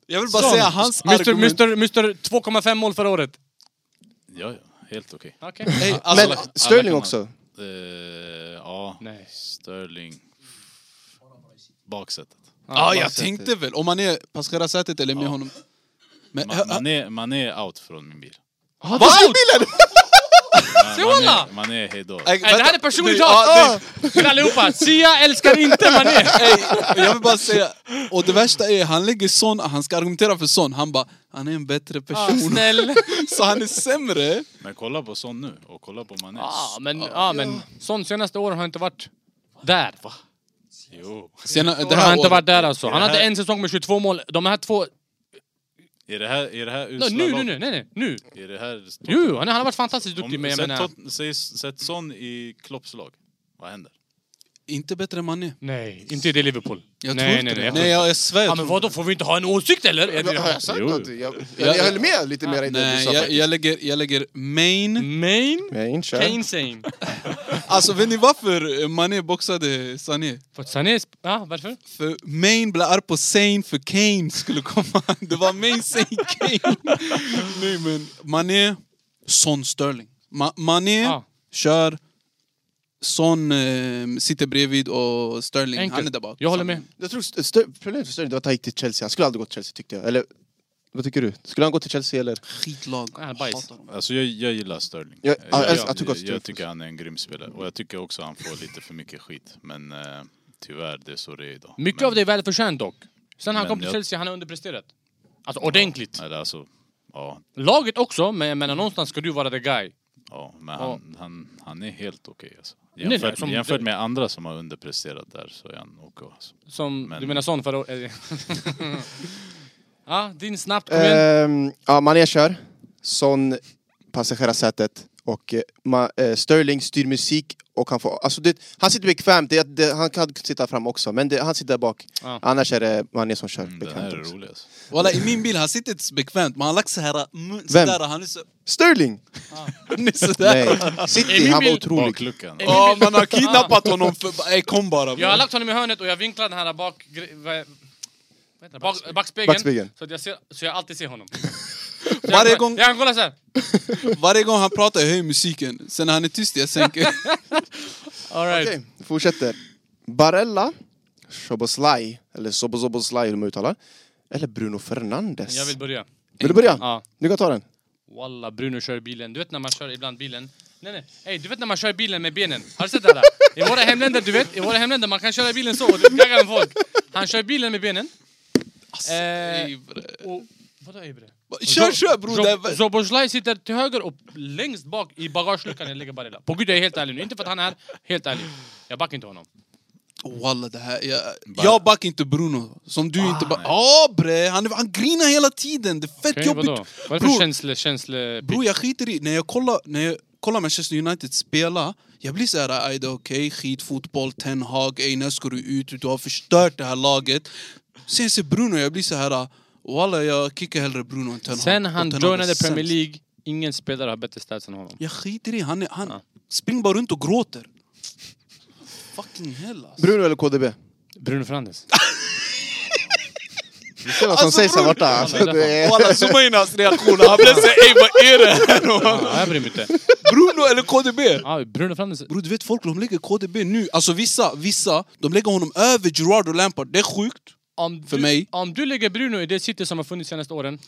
Jag vill bara
Son.
säga hans
Mr,
argument.
Mr, Mr 2,5 mål förra året.
Ja, ja, helt okej.
Okej.
Hey, alltså,
Men
alla kan
Sterling
man-
också.
Eh, ja,
Nej.
Sterling. Baksätet.
ja, jag
Baksätet.
tänkte väl. Om man är passagerarsätet eller med honom.
Eh,
Men, äh,
Ma- Man är, man är out från min bil.
Ah, det är bilen!
Se
Man
walla!
är, man är hejdå.
Äh,
Nej, det här är
vänta.
personligt
Nej, ja, nej.
hat till allihopa. Sia älskar inte Mané. Ah!
Ey, jag vill bara säga, och det värsta är han lägger son, han ska argumentera för son, han bara han är en bättre
Ah,
person.
snäll.
så han är sämre.
Men kolla på Son nu och kolla på Mané.
Ja, Ah, men, ja, men sån senaste åren har inte varit där.
Jo.
Sen, äh, det här
Han har inte
året-
varit där alltså. Han
Det
hade
här-
en säsong med 22 mål. De här två...
Är det här, är det här
Nej,
usla
nu, nu,
lag?
nu, nej, nej, nu.
Är det här...
Jo, jo, han har varit fantastiskt duktig, men jag
sätt,
menar...
Tot- säg- sätt Son i Klopps lag. Vad händer?
Inte bättre än Mané.
Nej, inte i det Liverpool.
Jag tror
nej,
inte
nej,
det.
nej, jag tror inte-
nej, jag, jag svär.
Ja, men
Jag, tror-
vadå, får vi inte ha en åsikt eller? Är det-
Har jag sagt
Jo.
något? Jag, jag, jag höll med lite mer i det du
nej,
sa
jag,
faktiskt.
jag, lägger, jag lägger main.
Mm. Main?
Jag är inte kär.
Kane Sane.
Alltså vet ni varför Mané boxade Sané?
För att Sané... sp- Ja, varför?
För main blev arg på Sane för Kane skulle komma. Det var main, Sane, Kane. nej men Mané, Son Sterling. Ma- Mané
Ah.
kör, Son eh, sitter bredvid och Sterling, han är där bak.
Jag håller med.
Jag tror st- stö- problemet för Sterling det var att han gick till Chelsea. Han skulle aldrig gå till Chelsea tyckte jag. Eller vad tycker du? Skulle han gå till Chelsea eller?
Skitlag.
Ah, bajs.
Hatar dem.
Alltså jag, jag gillar Sterling.
Jag- jag- jag
jag,
tycker också Sterling.
tycker han är en grym spelare. Och jag tycker också han får lite för mycket skit. Men eh, tyvärr, det är så det är idag.
Mycket
men,
av det är välförtjänt dock. Sen han
Men
kom till
jag-
Chelsea, han har underpresterat. Alltså ordentligt.
Eller alltså, ja,
Laget också, men jag menar någonstans ska du vara the guy.
ja men han, han, han är helt okej alltså.
Nej, nej,
Jämfört,
som-
jämfört med andra som har underpresterat där så är han okej alltså.
Som,
Men-
du menar sån förra året? eh, Ja, din snabbt, kom igen.
Ehm, ja, Mané kör. Son, passagerarsätet. Och eh, Ma- eh, Sterling styr musik och han får... Alltså det, han sitter bekvämt, det, är att det, han kan sitta fram också men det, han sitter där bak.
Ja.
Annars är det Mané som kör
Mm, Det här
bekvämt
är
också.
roligt alltså.
Walla, i min bil, han sitter inte så bekvämt. Men han har lagt så här, mun- sådär, han är så...
Sterling!
Han är sådär.
Nej, City, han var
Emil-
otrolig.
Bakluckan.
Ja, man har kidnappat honom för... Ey, kom bara.
Jag har
bro.
lagt honom i hörnet och jag vinklar den här bak... gre- vad- vad heter det? Bak, backspegeln,
Backspegeln.
Så, att jag ser, så jag alltid ser honom. Så
Varje
jag,
gång-
Jag kan kolla såhär.
Varje gång han pratar, jag höjer musiken. Sen när han är tyst, jag sänker.
Alright.
Okej, vi fortsätter. Barella, Soboslaj, eller Sobozoboslaj hur man uttalar. Eller Bruno Fernandes.
Jag vill börja.
Vill du börja?
Ja.
Du kan ta den.
Walla, Bruno kör bilen. Du vet när man kör ibland bilen... Nej, nej. Ey, du vet när man kör bilen med benen? Har du sett det där? I våra hemländer, du vet, i våra hemländer man kan köra bilen så och det gaggar med folk. Han kör bilen med benen.
Alltså,
Eh,
ey, bre.
Och... Vadå Ebre?
Kör, kör bror! det är-
Zoboslaj sitter till höger och längst bak i bagageluckan jag ligger Barilla. På gud, jag är helt ärlig nu. Inte för att han är helt ärlig. Jag backar inte honom.
Walla, det här... Jag, jag backar inte Bruno. Som du inte backar.
nej.
Ja, bre! Han, är- han grinar hela tiden. Det är fett
Ah, Okej,
jobbigt.
vadå? Vad är det för
Bror.
känsle... känsle
Bror jag skiter i, när jag kollar, när jag, kollar Manchester United spela, jag blir så här, aj det är okej, skitfotboll, Ten Hag, ey när ska du ut, du har förstört det här laget. Sen ser Bruno, jag blir så här, walla jag kickar hellre Bruno än Ten Hag.
Sen
Och
han
Ten Hag är
joinade
sämst.
Premier League, ingen spelare har bättre stats än honom.
Jag skiter i, han, är, han
Ja.
springer bara runt och gråter. Fucking hell alltså.
Bruno eller KDB?
Bruno Fernandes.
Ah.
Vi ser vad som
Alltså,
sägs här
Bruno-
borta. Alltså,
Ja, det är
det är...
Walla, zooma in hans reaktion. Han blev såhär, ey vad är det här?
Ja, jag bryr mig inte.
Bruno eller KDB?
Ja, Bruno Fernandes.
Bror du vet folk de lägger KDB nu, alltså vissa, vissa, de lägger honom över Gerard och Lampard, det är sjukt.
Om
För
du,
mig.
Om du lägger Bruno i det city som har funnits senaste åren.
Eh,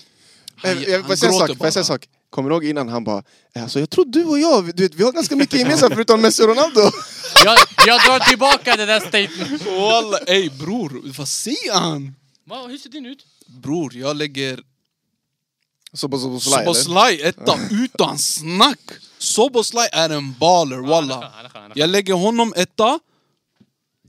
Han-
jag- Får
han
jag säga en
gråter
sak? Får jag säga en
bara.
sak? Kommer du ihåg innan han bara eh, alltså, jag tror du och jag, vi- du vet, vi har ganska mycket gemensamt förutom Messi och Ronaldo.
Jag, jag drar tillbaka det där statement.
Walla, ey bror, vad säger han?
Va, hur ser din ut?
Bror, jag lägger
Soboslaj eller?
Soboslaj etta utan snack! Soboslaj är en baller, walla.
Han är skön, han är skön, han är skön.
Jag lägger honom etta,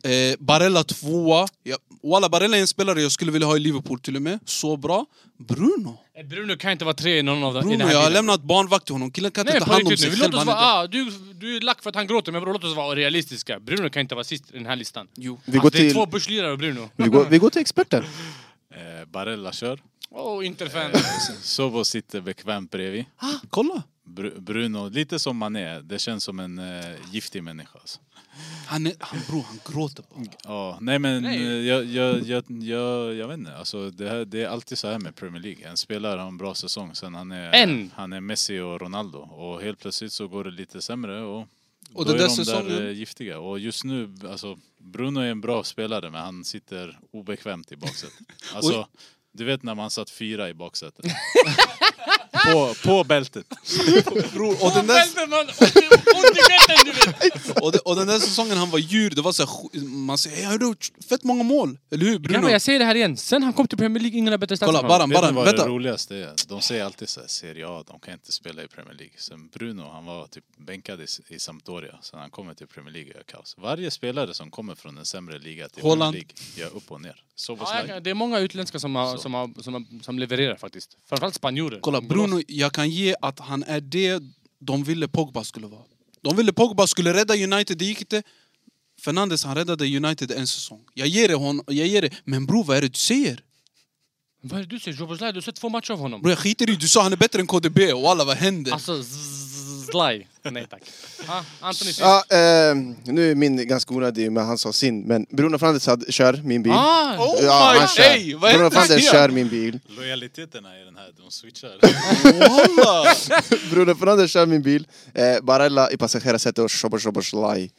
eh, Barella tvåa. Ja, walla, Barella är en spelare jag skulle vilja ha i Liverpool till och med. Så bra. Bruno.
Eh, Bruno kan inte vara tre i någon av de- i den
Bruno,
här
jag har
bilden.
lämnat barnvakt till honom. Killen kan
Nej,
inte
på
ta hand om
riktigt
sig
nu.
själv.
Låt oss
han
vara,
är inte-
ah, du, du är lack för att han gråter, men bror, låt oss vara realistiska. Bruno kan inte vara sist i den här listan.
Jo.
Vi går
alltså, det är
till,
två börslirare och Bruno.
vi går, vi går till experten.
Eh, Barella kör.
Oh, Interfan.
Sobo sitter bekvämt bredvid.
Ah, kolla!
Br- Bruno, lite som man är. Det känns som en eh, giftig människa. Alltså.
Han, är, han, bror, han gråter bara.
Ja, nej men
Nej.
eh, Jag, jag, jag, jag, jag vet inte. Alltså, det, här, det är alltid så här med Premier League. En spelare har en bra säsong, sen han är,
En.
han är Messi och Ronaldo. Och helt plötsligt så går det lite sämre och,
Och
då
den
är
där
de
säsongen-
där eh, giftiga. Och just nu, alltså, Bruno är en bra spelare men han sitter obekvämt i baksätet. Alltså, du vet när man satt fyra i baksätet? på, på bältet.
Bror, och, den där,
Välter man ont i ont i bälten, du vet!
och, den, och den där säsongen han var djur, det var så här, sj- man säger hey, han har gjort fett många mål. Eller hur Bruno?
Grabbar, jag säger det här igen. Sen han kom till Premier League, ingen har bättre stats
Kolla,
än honom.
Baran,
Vet ni
Baran,
vad det
vänta.
roligaste är? De säger alltid så här, Serie A, de kan inte spela i Premier League. Sen Bruno, han var typ bänkad i, i Sampdoria. Sen han kommer till Premier League gör kaos. Varje spelare som kommer från en sämre liga till
Haaland.
Premier League gör upp och ner.
Ja, jag
Soboslaj.
kan- det är många utländska som, har, som, har, som, har, som levererar faktiskt. Framförallt spanjorer.
Kolla, Bruno, jag kan ge att han är det de ville Pogba skulle vara. De ville Pogba skulle rädda United, det gick inte. Fernandes, han räddade United en säsong. Jag ger det honom, jag ger det. Men bror, vad är det du säger?
Vad är det du säger? Joboslaj, du har sett två matcher av honom.
Bror, jag skiter i, du sa han är bättre än KDB. Walla, vad händer?
Alltså, zzz- Zlaj. Nej tack. Ah, Anthony sist.
Ja, eh, nu är min ganska onödig, men han sa sin. Men Bruno Fernandes hade- kör min bil.
Ah,
ja, han kör.
ey, vad
Bruno
händer
Fernandes
här?
kör min bil.
Lojaliteterna i den här, de switchar.
Walla!
Bruno Fernandes kör min bil. Eh, Barella i passagerarsätet och Shoboslaj.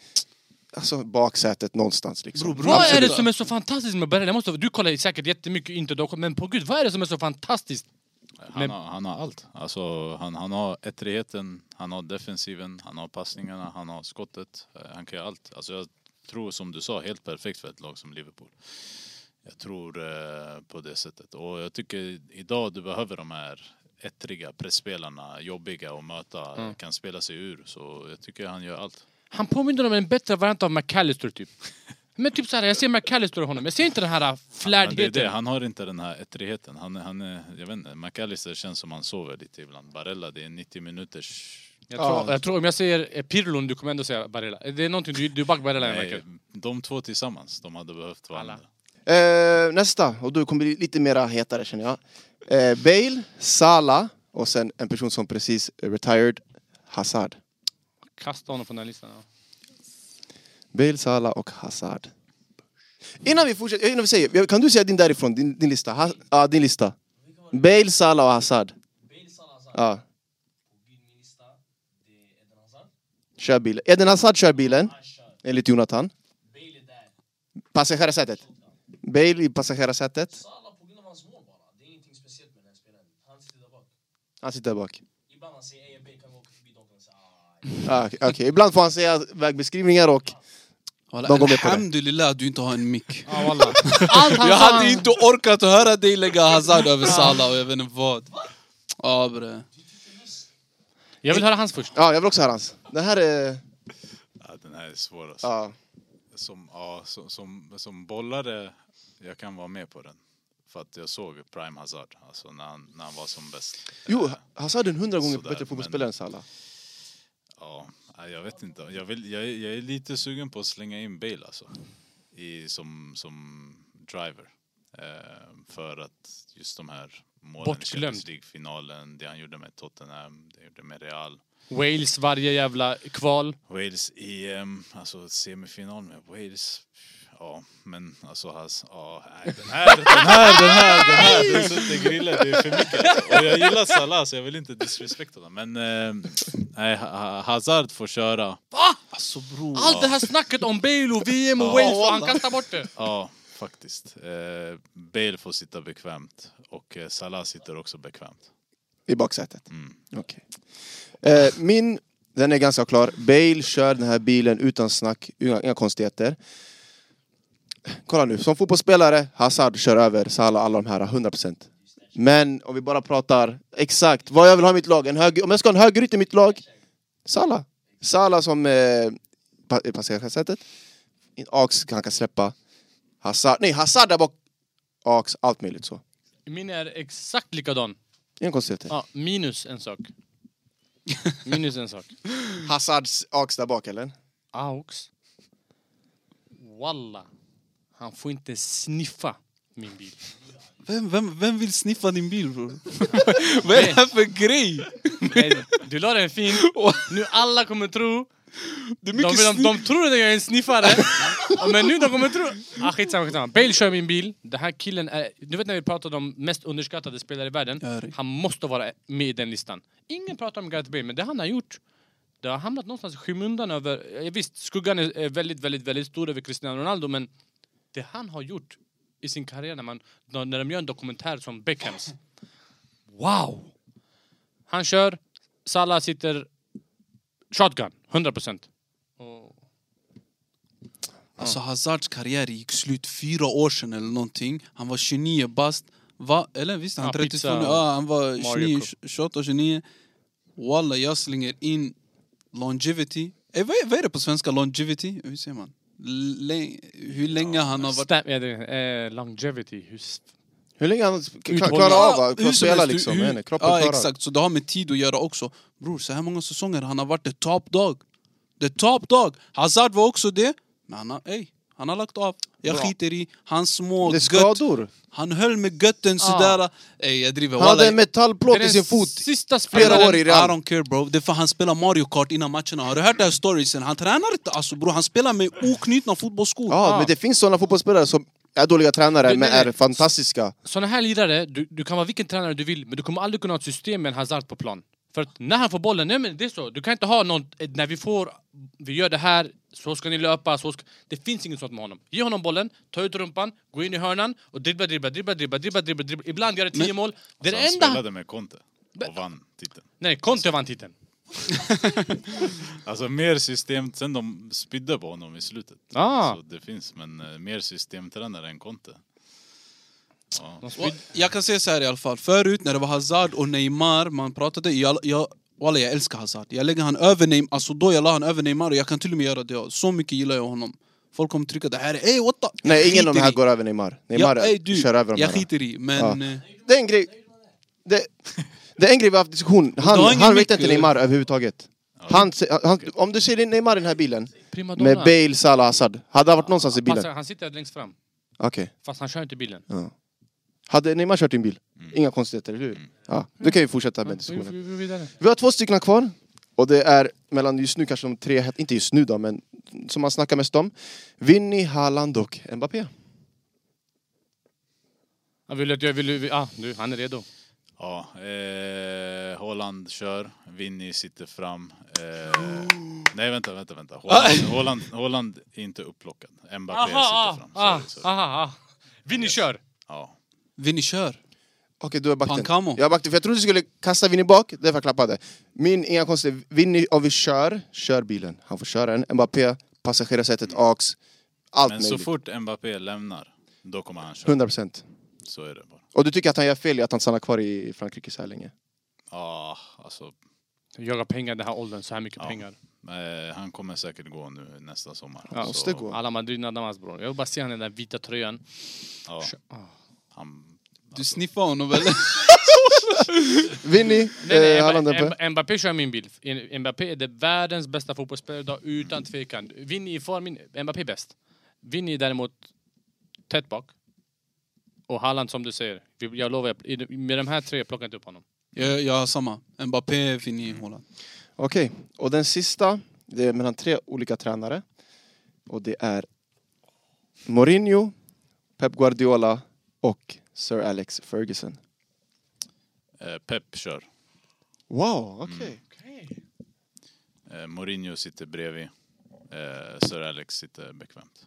Alltså baksätet någonstans liksom.
Bror, Bruno-
Vad är
Absolut.
det som är så fantastiskt med Barella? Jag måste, du kollar säkert jättemycket Interdoc, men på gud, vad är det som är så fantastiskt?
Han har, han har allt. Alltså, han, han har ettrigheten, han har defensiven, han har passningarna, han har skottet. Eh, Han kan göra allt. Alltså, jag tror som du sa, helt perfekt för ett lag som Liverpool. Jag tror eh, på det sättet. Och jag tycker idag du behöver de här ettriga pressspelarna, jobbiga att möta, kan spela sig ur. Så jag tycker han gör allt.
Han påminner om en bättre variant av McAllister typ. Men typ så här, jag ser McAllister i honom, jag ser inte den här ah,
Men det är
flärdigheten.
det, han har inte den här ettrigheten. Han, är- han är, jag vet inte, McAllister känns som han sover lite ibland. Barella, det är 90 minuters...
jag, tror, jag tror om jag säger eh, Pirlo, du kommer ändå säga Barella. Det är någonting, du, du är back Barella jag
Nej,
märker.
de två tillsammans, de hade behövt varandra.
Alla.
Eh, nästa, och du kommer bli lite mera hetare känner jag. Eh, Bale, Salah och sen en person som precis är retired, Hazard.
Kasta honom från den här listan. Ja.
Bale, Salah och Hazard. Innan vi fortsätter, innan vi säger, kan du säga din därifrån, din, din lista? Ha, ja, din lista. Bale, Salah och Hazard. Ja. Kör bilen. Eden Hazard kör bilen, enligt Jonathan. Passagerarsätet. Bale i passagerarsätet.
Salah på grund av hans mål bara. Det är ingenting speciellt med den här spelaren. Han sitter där bak.
Han sitter där bak.
Ibland han säger ey, jag kan gå förbi dem och säga ah,
Ah, Okej, ibland får han säga vägbeskrivningar och...
Walla,
De går med på det.
Alhamdulillah att du inte har en mick.
Ah, wallah. Allt han
Jag
sa-
hade inte orkat höra dig lägga Hazard över Salah och jag vet inte vad. Ja bre.
Jag vill höra hans först.
Ja, jag vill också höra hans. Det här är...
Ja, den här är svår alltså.
Ja.
Som, ja, som, som, som bollare, jag kan vara med på den. För att jag såg Prime Hazard, alltså när han, när han var som bäst.
Jo, Hazard är en hundra gånger
Sådär,
bättre fotbollsspelare
men-
än Salah.
Ja, nej, jag vet inte. Jag, vill, jag, är- jag är lite sugen på att slänga in Bale alltså. I, som, som driver. Eh, för att just de här målen i
Bortglömd.
Champions League-finalen, det han gjorde med Tottenham, det han gjorde med Real.
Wales varje jävla kval.
Wales i ehm, alltså semifinal med Wales. Ja, men alltså hans... Ja, nej, den här, den här, den här, den här. Den sitter i grillen, det är för mycket. Alltså. Och jag gillar Salah så jag vill inte disrespekta honom. Men ehm, nej, Ha- Ha- Hazard får köra.
Alltså bror.
Allt det här snacket om Bale och VM och Wales och han kastar bort det.
Ja, faktiskt. Eh, Bale får sitta bekvämt och eh, Salah sitter också bekvämt.
I baksätet?
Mm.
Okej. Eh, min, den är ganska klar. Bale kör den här bilen utan snack, inga, inga konstigheter. Kolla nu, som fotbollsspelare, Hazard kör över Salah, alla de här, 100%. Men om vi bara pratar exakt, vad jag vill ha i mitt lag, en höger, om jag ska ha en högerytter i mitt lag, Salah. Salah som eh, pa- passerar sättet. In- Ax kan kan släppa. Hazard, nej Hazard där bak. Ax, allt möjligt så.
Min är exakt likadan.
Inga konstigheter.
Ja, minus en sak. Minus en sak.
Hazards Ax där bak eller?
Aux. Walla. Han får inte sniffa min bil.
Vem, vem, vem vill sniffa din bil bror? Vad är det här för grej?
Nej, Du la den fint. Nu alla kommer tro...
Det är
De,
mycket
de,
sniff.
de tror att jag är en sniffare. Ja, Men nu de kommer tro... Ah, skitsamma, skitsamma. Bale kör min bil. Den här killen är... Du vet när vi pratade om mest underskattade spelare i världen?
Ja, det-
Han måste vara med i den listan. Ingen pratar om Gareth Bale, men det han har gjort det har hamnat någonstans i skymundan över... eh, Visst, skuggan är är väldigt, väldigt, väldigt stor över Cristiano Ronaldo, men det han har gjort i sin karriär när, man, när när de gör en dokumentär som Beckhams. Wow! Han kör, Salah sitter shotgun, 100 procent.
Alltså Hazards karriär gick slut fyra år sedan eller någonting. Han var 29 bast. Va? Eller visst, han
Ja,
32
pizza
nu.
och
Ja, han var
Mario
29,
Cup.
28, 29. Walla, jag slänger in longevity. Eh, vad, är, vad är det på svenska? Longevity? Hur säger man? Läng, hur länge han har varit...
Stam- ja, det, eh, longevity. hur s-
Hur länge han klarar
Uthållighet.
av att
hur
kunna
som
spela
helst,
liksom,
hur-
hur, kroppen
ja,
klarar.
exakt. Så det har med tid att göra också. Bror, så här många säsonger, han har varit the top dog. The top dog! Hazard var också det, men han har, ey, han har lagt av. Jag
Bra.
skiter i hans små
Det är
gött.
skador. Ah.
Han höll med götten sådär. Ey, jag driver.
Han hade
Walla,
en metallplåt i
den
sin fot.
Sista
flera
spelaren,
år i
I
Real.
don't care bro. Det är för han spelar Mario Kart innan matcherna. Har du hört den här storiesen? Han tränar inte alltså bror. Han spelar med oknutna fotbollsskor.
Ja, men det finns sådana fotbollsspelare som är dåliga tränare
Nej,
men
nej,
är
nej.
fantastiska.
Såna här lirare, du, du kan vara vilken tränare du vill, men du kommer aldrig kunna ha ett system med en Hazard på plan. För att när han får bollen, nej men det är så. Du kan inte ha någon, eh, när vi får, vi gör det här, så ska ni löpa, så ska... Det finns inget sånt med honom. Ge honom bollen, ta ut rumpan, gå in i hörnan och dribbla, dribbla, dribbla, dribbla, dribbla, dribbla, dribbla. Ibland gör det tio
Men-
mål. Det är
Så han
det
Alltså,
enda...
spelade med Conte och vann titeln.
Nej, Conte vann titeln.
Alltså mer system, sen de spydde på honom i slutet.
Ah.
Så det finns, men eh, mer systemtränare än Conte. Ja.
De spydde-
Och Jag kan säga så här i alla fall. Förut när det var Hazard och Neymar, man pratade... Jag, jag, walla, jag älskar Hazard. Jag lägger han över Neymar. Alltså då jag la han över Neymar och jag kan till och med göra det. Så mycket gillar jag honom. Folk kommer trycka det här är... Ey, what the...
Nej, ingen av de här
Skiter i.
går över Neymar. Neymar
ja, ey, du,
kör över de
Jag
här.
skiter i, men... eh,
Det är en grej... Det, det är en grej vi har haft diskussion.
Du har
Han,
ingen
han
mick,
ratear inte
eller?
Neymar överhuvudtaget. Han, han, om du ser in Neymar i den här bilen,
Primadonna.
med Bale, Salah, Hazard. Hade han varit någonstans i bilen?
Passar- Han sitter längst fram,
Okej.
fast han kör inte bilen.
Hade Neymar kört din bil?
Mm.
Inga konstigheter, eller hur? Ja, då kan vi fortsätta med
Vi
diskussionen.
vi går vidare.
Vi har två stycken kvar. Och det är mellan just nu kanske de tre, het- inte just nu då, men som man snackar mest om. Vinny, Haaland och Mbappé.
Han vill att jag vill... vill- Ah, nu, han är redo.
Ja, eh, Holland kör, Vinny sitter fram. Eh, nej vänta,
Ah.
vänta, vänta. Holland, Holland, Holland är inte upplockad. Mbappé sitter fram.
ah,
Sorry, sorry.
aha, aha. Vinny kör!
Ja.
Vinny kör.
Okej, du är backen.
Pancamo.
Jag är backen, för jag trodde du skulle kasta Vinny bak, därför jag klappade. Min, inga konstigheter. Vinny, om vi kör, kör bilen. Han får köra den. Mbappé, passagerarsätet, AX. Allt
Men så
möjligt.
fort Mbappé lämnar, då kommer han köra.
100 procent.
Så är det bara.
Och du tycker att han gör fel i att han stannar kvar i Frankrike så här länge?
Ja, alltså.
Jagar pengar den här åldern, så här mycket
Ja.
pengar.
Eh, han kommer säkert gå nu nästa sommar.
Ja,
Måste
Så,
gå.
Alla Madrid Nadamas bror. Jag vill bara se han i den där vita tröjan.
Ah.
ja, han,
Du sniffar honom eller?
Vinny,
Nej, nej,
eh, Haaland
Mb-
uppe.
Mb- Mbappé kör min bild. En- Mbappé är det världens bästa fotbollsspelare idag, utan tvekan. Vinny i form, in- Mbappé är bäst. Vinny är däremot tätt bak. Och Haaland som du säger, vi- jag lovar, jag- i- med de här tre plockar jag inte upp honom.
Jag, jag har samma. Mbappé, Vinny, Haaland.
Okej, och den sista, det är mellan tre olika tränare. Och det är Mourinho, Pep Guardiola och Sir Alex Ferguson.
Eh, Pep kör.
Wow, okej.
Eh, Mourinho sitter bredvid. Eh, Sir Alex sitter bekvämt.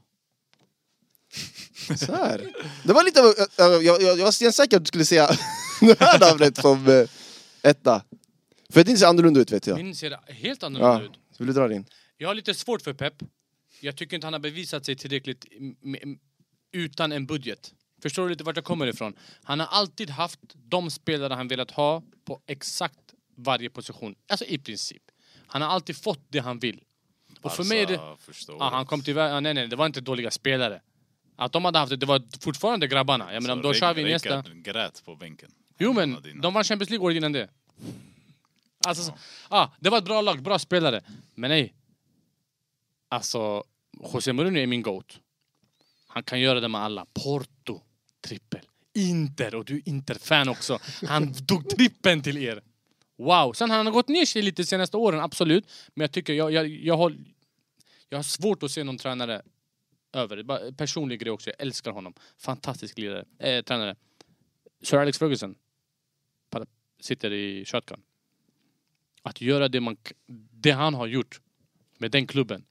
Mm. Så här. Det var lite, av- ö- ö- jag, jag, jag var stensäker att du skulle säga det här namnet som eh, etta. För din ser annorlunda ut vet jag.
Min ser helt
Ja,
annorlunda ut.
så vill du dra din?
Jag har lite svårt för Pep. Jag tycker inte han har bevisat sig tillräckligt m- m- utan en budget. Förstår du lite vart jag kommer ifrån? Han har alltid haft de spelare han velat ha på exakt varje position. Alltså i princip. Han har alltid fått det han vill. Och för mig är det...
Barca första
Ah,
året.
han kom till vär- ah, Nej, nej, det var inte dåliga spelare. Att de hade haft det, det var fortfarande grabbarna. Jag menar, om
Så
då kör vi
Rijkaard
nästa...
grät på bänken.
Jo
Han
men,
hade innan.
de vann Champions League året innan det. Alltså, så- ah, det var ett bra lag, bra spelare. Men nej. Alltså, José Mourinho är min GOAT. Han kan göra det med alla. Porto, trippel. Inter, och du är Inter-fan också. Han tog trippen till er. Wow! Sen han har gått ner sig lite de senaste åren, absolut. Men jag tycker, jag, jag, jag, har, jag har svårt att se någon tränare över. Det är bara en Personlig grej också, jag älskar honom. Fantastisk lirare, eh, tränare. Sir Alex Ferguson pa- sitter i shotgun. Att göra det, man, k- det han har gjort med den klubben.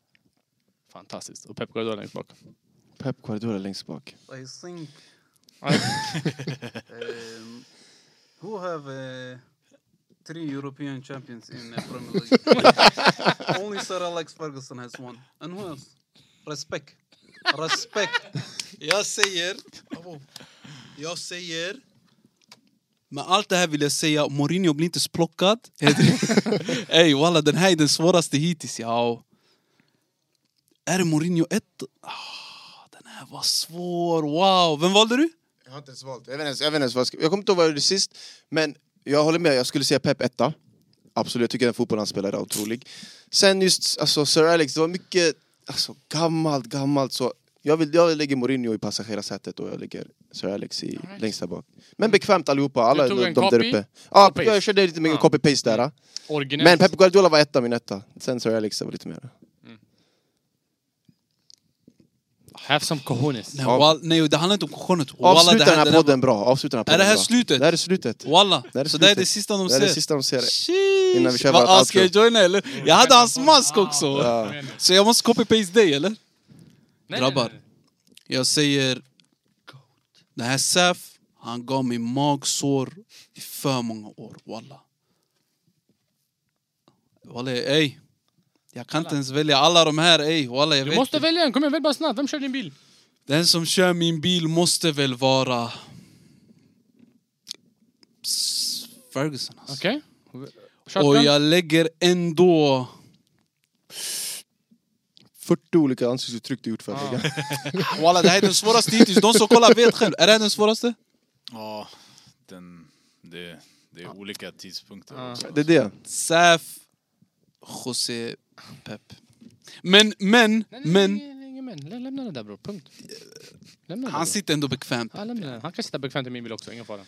Fantastiskt. Och Pep Guardiola längst bak.
Pep Guardiola längst bak.
I think um, who have uh, three European champions in the Premier League. Only Sir Alex Ferguson has one. And who else? Respect. Respect.
Jag säger... Abo. Jag säger... Med allt det här vill jag säga, Mourinho blir inte splockad. Ey walla, den här är den svåraste hittills. Ja. Är det Mourinho 1? Ah, den här var svår. Wow. Vem valde du?
Jag har inte ens valt. Jag vet inte ens, jag vet inte ens vad jag ska... Jag kommer inte ihåg vad jag gjorde sist. Men jag håller med, jag skulle säga Pep etta. Absolut, jag tycker den fotbollen han spelar är otrolig. Sen just alltså, Sir Alex, det var mycket alltså, gammalt, gammalt. Så jag, vill, jag lägger Mourinho i passagerarsätet och jag lägger Sir Alex i, längst där bak. Men bekvämt allihopa, alla
Du tog
de,
en
de där
copy?
uppe. Ja,
Copy-paste?
jag körde lite mycket
Ja.
copy-paste där.
Originellt.
Men Pep Guardiola var etta, min etta. Sen Sir Alex var lite mer.
Have some cojones.
Nej,
Ja.
wall, nej det handlar inte om kojonet.
Avsluta den här podden bra. Avsluta den här podden
Är det här
bra.
slutet?
Det här är slutet.
Walla.
Det här är
Så det är
slutet.
det sista de
Det här är det
ser.
sista de ser.
Sheesh.
Innan vi kör
Va-
vårt
ah,
outro.
Ska jag joina eller? Jag hade hans mask också.
Ja.
Så jag måste copy-paste dig eller?
nej,
Grabbar.
nej.
Jag säger... Den här Saf, han gav mig magsår i för många år, walla. Walla, ey. Jag kan inte ens välja alla de här, ey. Walla, jag
Du
vet
måste
inte.
välja en, kom igen, välj bara snabbt. Vem kör din bil?
Den som kör min bil måste väl vara... S- Ferguson, alltså.
Okej?
Och
Shotgun?
jag lägger ändå...
40 olika ansiktsuttryck du gjort för mig.
Walla, det här är den svåraste hittills. De som kollar vet själv. Är det här den svåraste?
Ja, den, det, det är olika tidpunkter också.
Det är det.
Saf, José, Pep. Men, men,
Nej, nej,
men.
nej, nej, nej, men. Lä- Lämna det där bror, punkt. Lämna det där,
Han
bror.
sitter ändå bekvämt.
Ja, lämna det. Han kan sitta bekvämt i min bil också, ingen fara.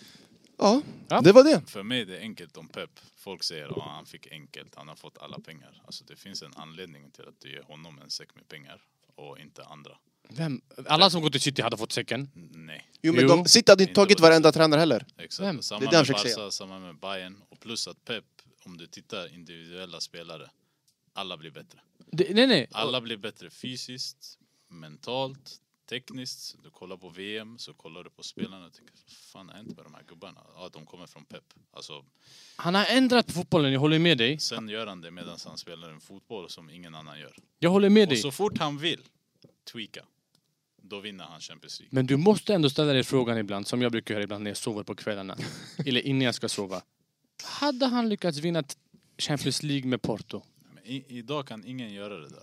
Ja,
Ja.
det var det.
För mig är det enkelt om Pep. Folk säger att han fick enkelt, han har fått alla pengar. Alltså det finns en anledning till att du ger honom en säck med pengar och inte andra.
Vem? Alla som går till City hade fått säcken.
N- Nej,
Jo, men
Jo.
de City hade inte
Inte
tagit
bara-
varenda tränare heller.
exakt.
Vem?
Och Samma
Det är det jag
med
försöker säga.
Barca, samma med Bayern. Och plus att Pep, om du tittar individuella spelare, alla blir bättre.
Det, nej, nej.
Alla blir bättre fysiskt, mentalt, tekniskt. Du kollar på VM, så kollar du på spelarna och tänker, "Vad fan har hänt med de här gubbarna? Ja, de kommer från Pep. Alltså,
Han har ändrat på fotbollen, jag håller med dig.
sen gör han det medan han spelar en fotboll som ingen annan gör.
Jag håller med
Och
dig.
så fort han vill tweaka, då vinner han Champions League.
Men du måste ändå ställa dig frågan ibland, som jag brukar göra ibland när jag sover på kvällarna. Eller innan jag ska sova. Hade han lyckats vinna t- Champions League med Porto?
Men i, idag kan ingen göra det där.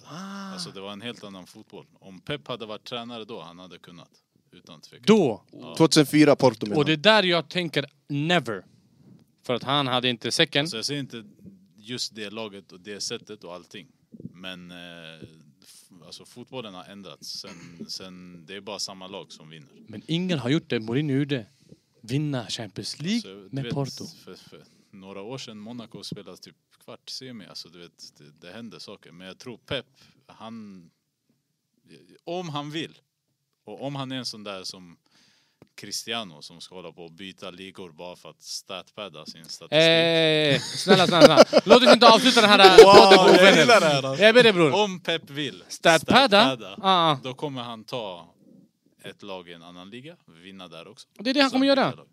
Alltså det var en helt annan fotboll. Om Pep hade varit tränare då, han hade kunnat. Utan tvekan.
Då!
2004 Porto
Och
menar
det är
jag.
där jag tänker never. För att han hade inte säcken.
Så jag ser inte just det laget och det sättet och allting. Men eh, f- alltså fotbollen har ändrats. Sen, sen det är bara samma lag som vinner.
Men ingen har gjort det Mourinho gjorde. Vinna Champions League
Så, Alltså, du
med
vet,
Porto.
För, för några år sedan Monaco spelade typ kvart semi. Alltså du vet, det, det händer saker. Men jag tror Pep, han... Om han vill. Och om han är en sån där som Cristiano som ska hålla på och byta ligor bara för att statpadda sin statistik.
Eh, snälla, snälla, snälla. Låt oss inte avsluta den här wow, podden på
jag gillar det
ovänner.
här. alltså.
Jag ber dig bror.
Om Pep vill
Statpadda?
statpadda,
Ah, ah.
då kommer han ta ett lag i en annan liga, vinna där också.
Det är det han
Sen
kommer göra.
byta lag.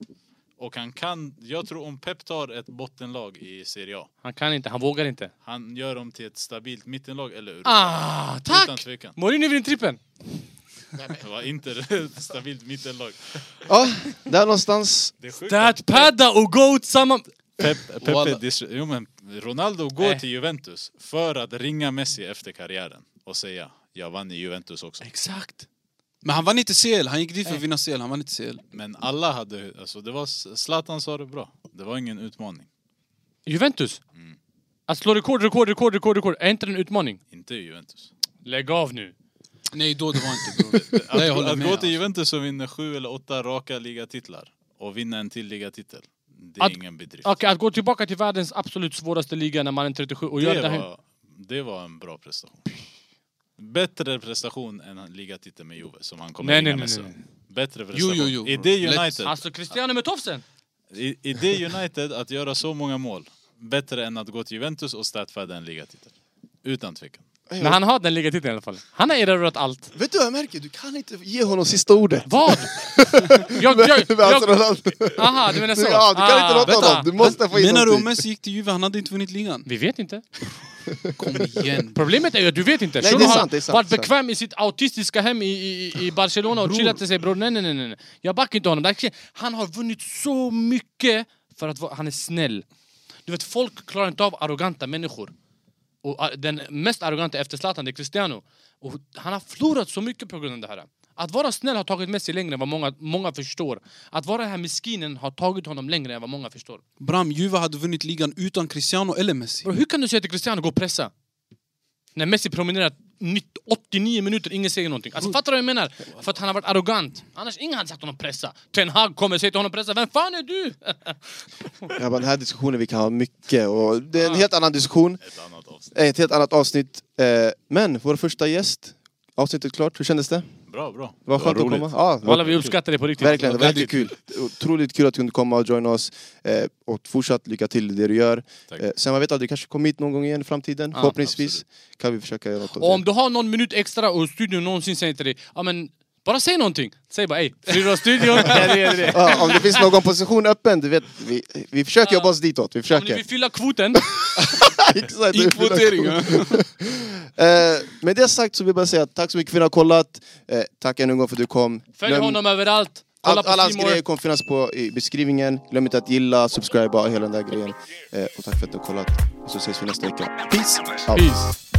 Och han kan, jag tror om Pep tar ett bottenlag i Serie A,
Han kan inte, han vågar inte.
han gör dem till ett stabilt mittenlag eller Europa.
Ah,
Utan
tack!
tvekan.
Mourinho vinner trippen.
Det var inte ett stabilt mittenlag.
Ja, där någonstans.
Det är sjukt.
That padda och goat samman...
Pep, Pep
Walla.
är dis- jo, men Ronaldo går
Nej.
till Juventus för att ringa Messi efter karriären och säga jag vann i Juventus också.
Exakt.
Men han vann inte CL, han gick dit för att vinna CL, han vann inte CL.
Men alla hade, alltså det var, Zlatan sa det bra. Det var ingen utmaning.
Juventus. Att slå rekord, rekord, rekord, rekord, rekord. Är inte det en utmaning?
Inte i Juventus.
Lägg av nu.
Nej, då det var inte bror.
Att,
Nej, jag håller
att
med.
gå
Alltså.
till Juventus som vinner sju eller åtta raka ligatitlar och vinna en till ligatitel, det är
Att-
ingen bedrift.
Okej, att gå tillbaka till världens absolut svåraste liga när man är 37 och göra det
det,
här...
var, det var en bra prestation. Bättre prestation än en ligatitel med Juve som han kommer
Nej,
vinna
nej,
med
nej,
sen.
nej.
Bättre prestation.
jo, jo,
I
bro.
det
Lätt.
United,
Alltså Cristiano med tofsen!
i, i det United att göra så många mål, bättre än att gå till Juventus och statfäda en ligatitel. Utan tvekan.
Men han har den ligatiteln i alla fall. Han har erövrat allt.
Vet du vad jag märker? Du kan inte ge honom sista ordet.
Vad? jag, jag,
Alltså,
jag,
Ronaldo.
aha, du menar så? Ah,
Ja, du kan inte låta
vänta.
honom. Du måste få in
Menar du om
någonting.
Messi gick till Juve, han hade inte vunnit ligan?
Vi vet inte.
Kom igen.
Problemet är ju att du vet inte.
Nej,
Shuno
det är
har
sant, det är sant,
varit
sant.
bekväm i sitt autistiska hem i, i, i Barcelona och chillat till sig bror. Nej, nej, nej, nej. Jag backar inte honom. Det här- Han har vunnit så mycket för att vara- han är snäll. Du vet, folk klarar inte av arroganta människor. Och ah, den mest arroganta efter Zlatan, det är Cristiano. Och han har förlorat så mycket på grund av det här. Att vara snäll har tagit Messi längre än vad många, många förstår. Att vara den här miskinen har tagit honom längre än vad många förstår.
Bram, Juve hade vunnit ligan utan Cristiano eller Messi.
Bro, hur kan du säga till Cristiano gå och pressa? När Messi promenerar 90 89 minuter, ingen säger någonting. Alltså, fattar du vad jag menar? För att han har varit arrogant. Annars ingen hade sagt honom pressa. Ten Hag kommer och säger till honom pressa, vem fan är du?
Ja, men den här diskussionen vi kan ha mycket och det är en
Ja.
helt annan diskussion. Eh,
Ett annat avsnitt.
Ett helt annat avsnitt. Eh, Men vår första gäst, avsnittet klart. Hur kändes det?
Bra, bra.
Det var skönt att komma. Ja, det var-
Walla, vi uppskattar det på riktigt.
verkligen, det var riktigt kul. Otroligt kul att du kunde komma och joina oss. Eh, Och fortsatt lycka till i det du gör.
Tack.
Eh, Sen man vet att du kanske kommer hit någon gång igen i framtiden.
Ja,
Förhoppningsvis kan vi försöka göra något
Och om
av
du har någon minut extra och studion någonsin säger till dig, ja men bara säg någonting. Säg bara ey, Frida studion. Ja, det är det.
det. Ja, om det finns någon position öppen, du vet, vi, vi försöker jobba oss ditåt. Vi
Om ni
försöker.
vill fylla kvoten,
Exakt, det är
Inkvotering! ja.
Eh, med det sagt så vill jag bara säga tack så mycket för att ni har kollat. Eh, tack ännu en gång för att du kom.
följ
Glöm-
honom överallt. Kolla
Allt,
på
alla hans
Simor.
grejer kommer finnas på i beskrivningen. Glöm inte att gilla, subscriba och hela den där grejen. Eh, och tack för att du har kollat. Och så ses vi nästa vecka. Peace! Out.
Peace.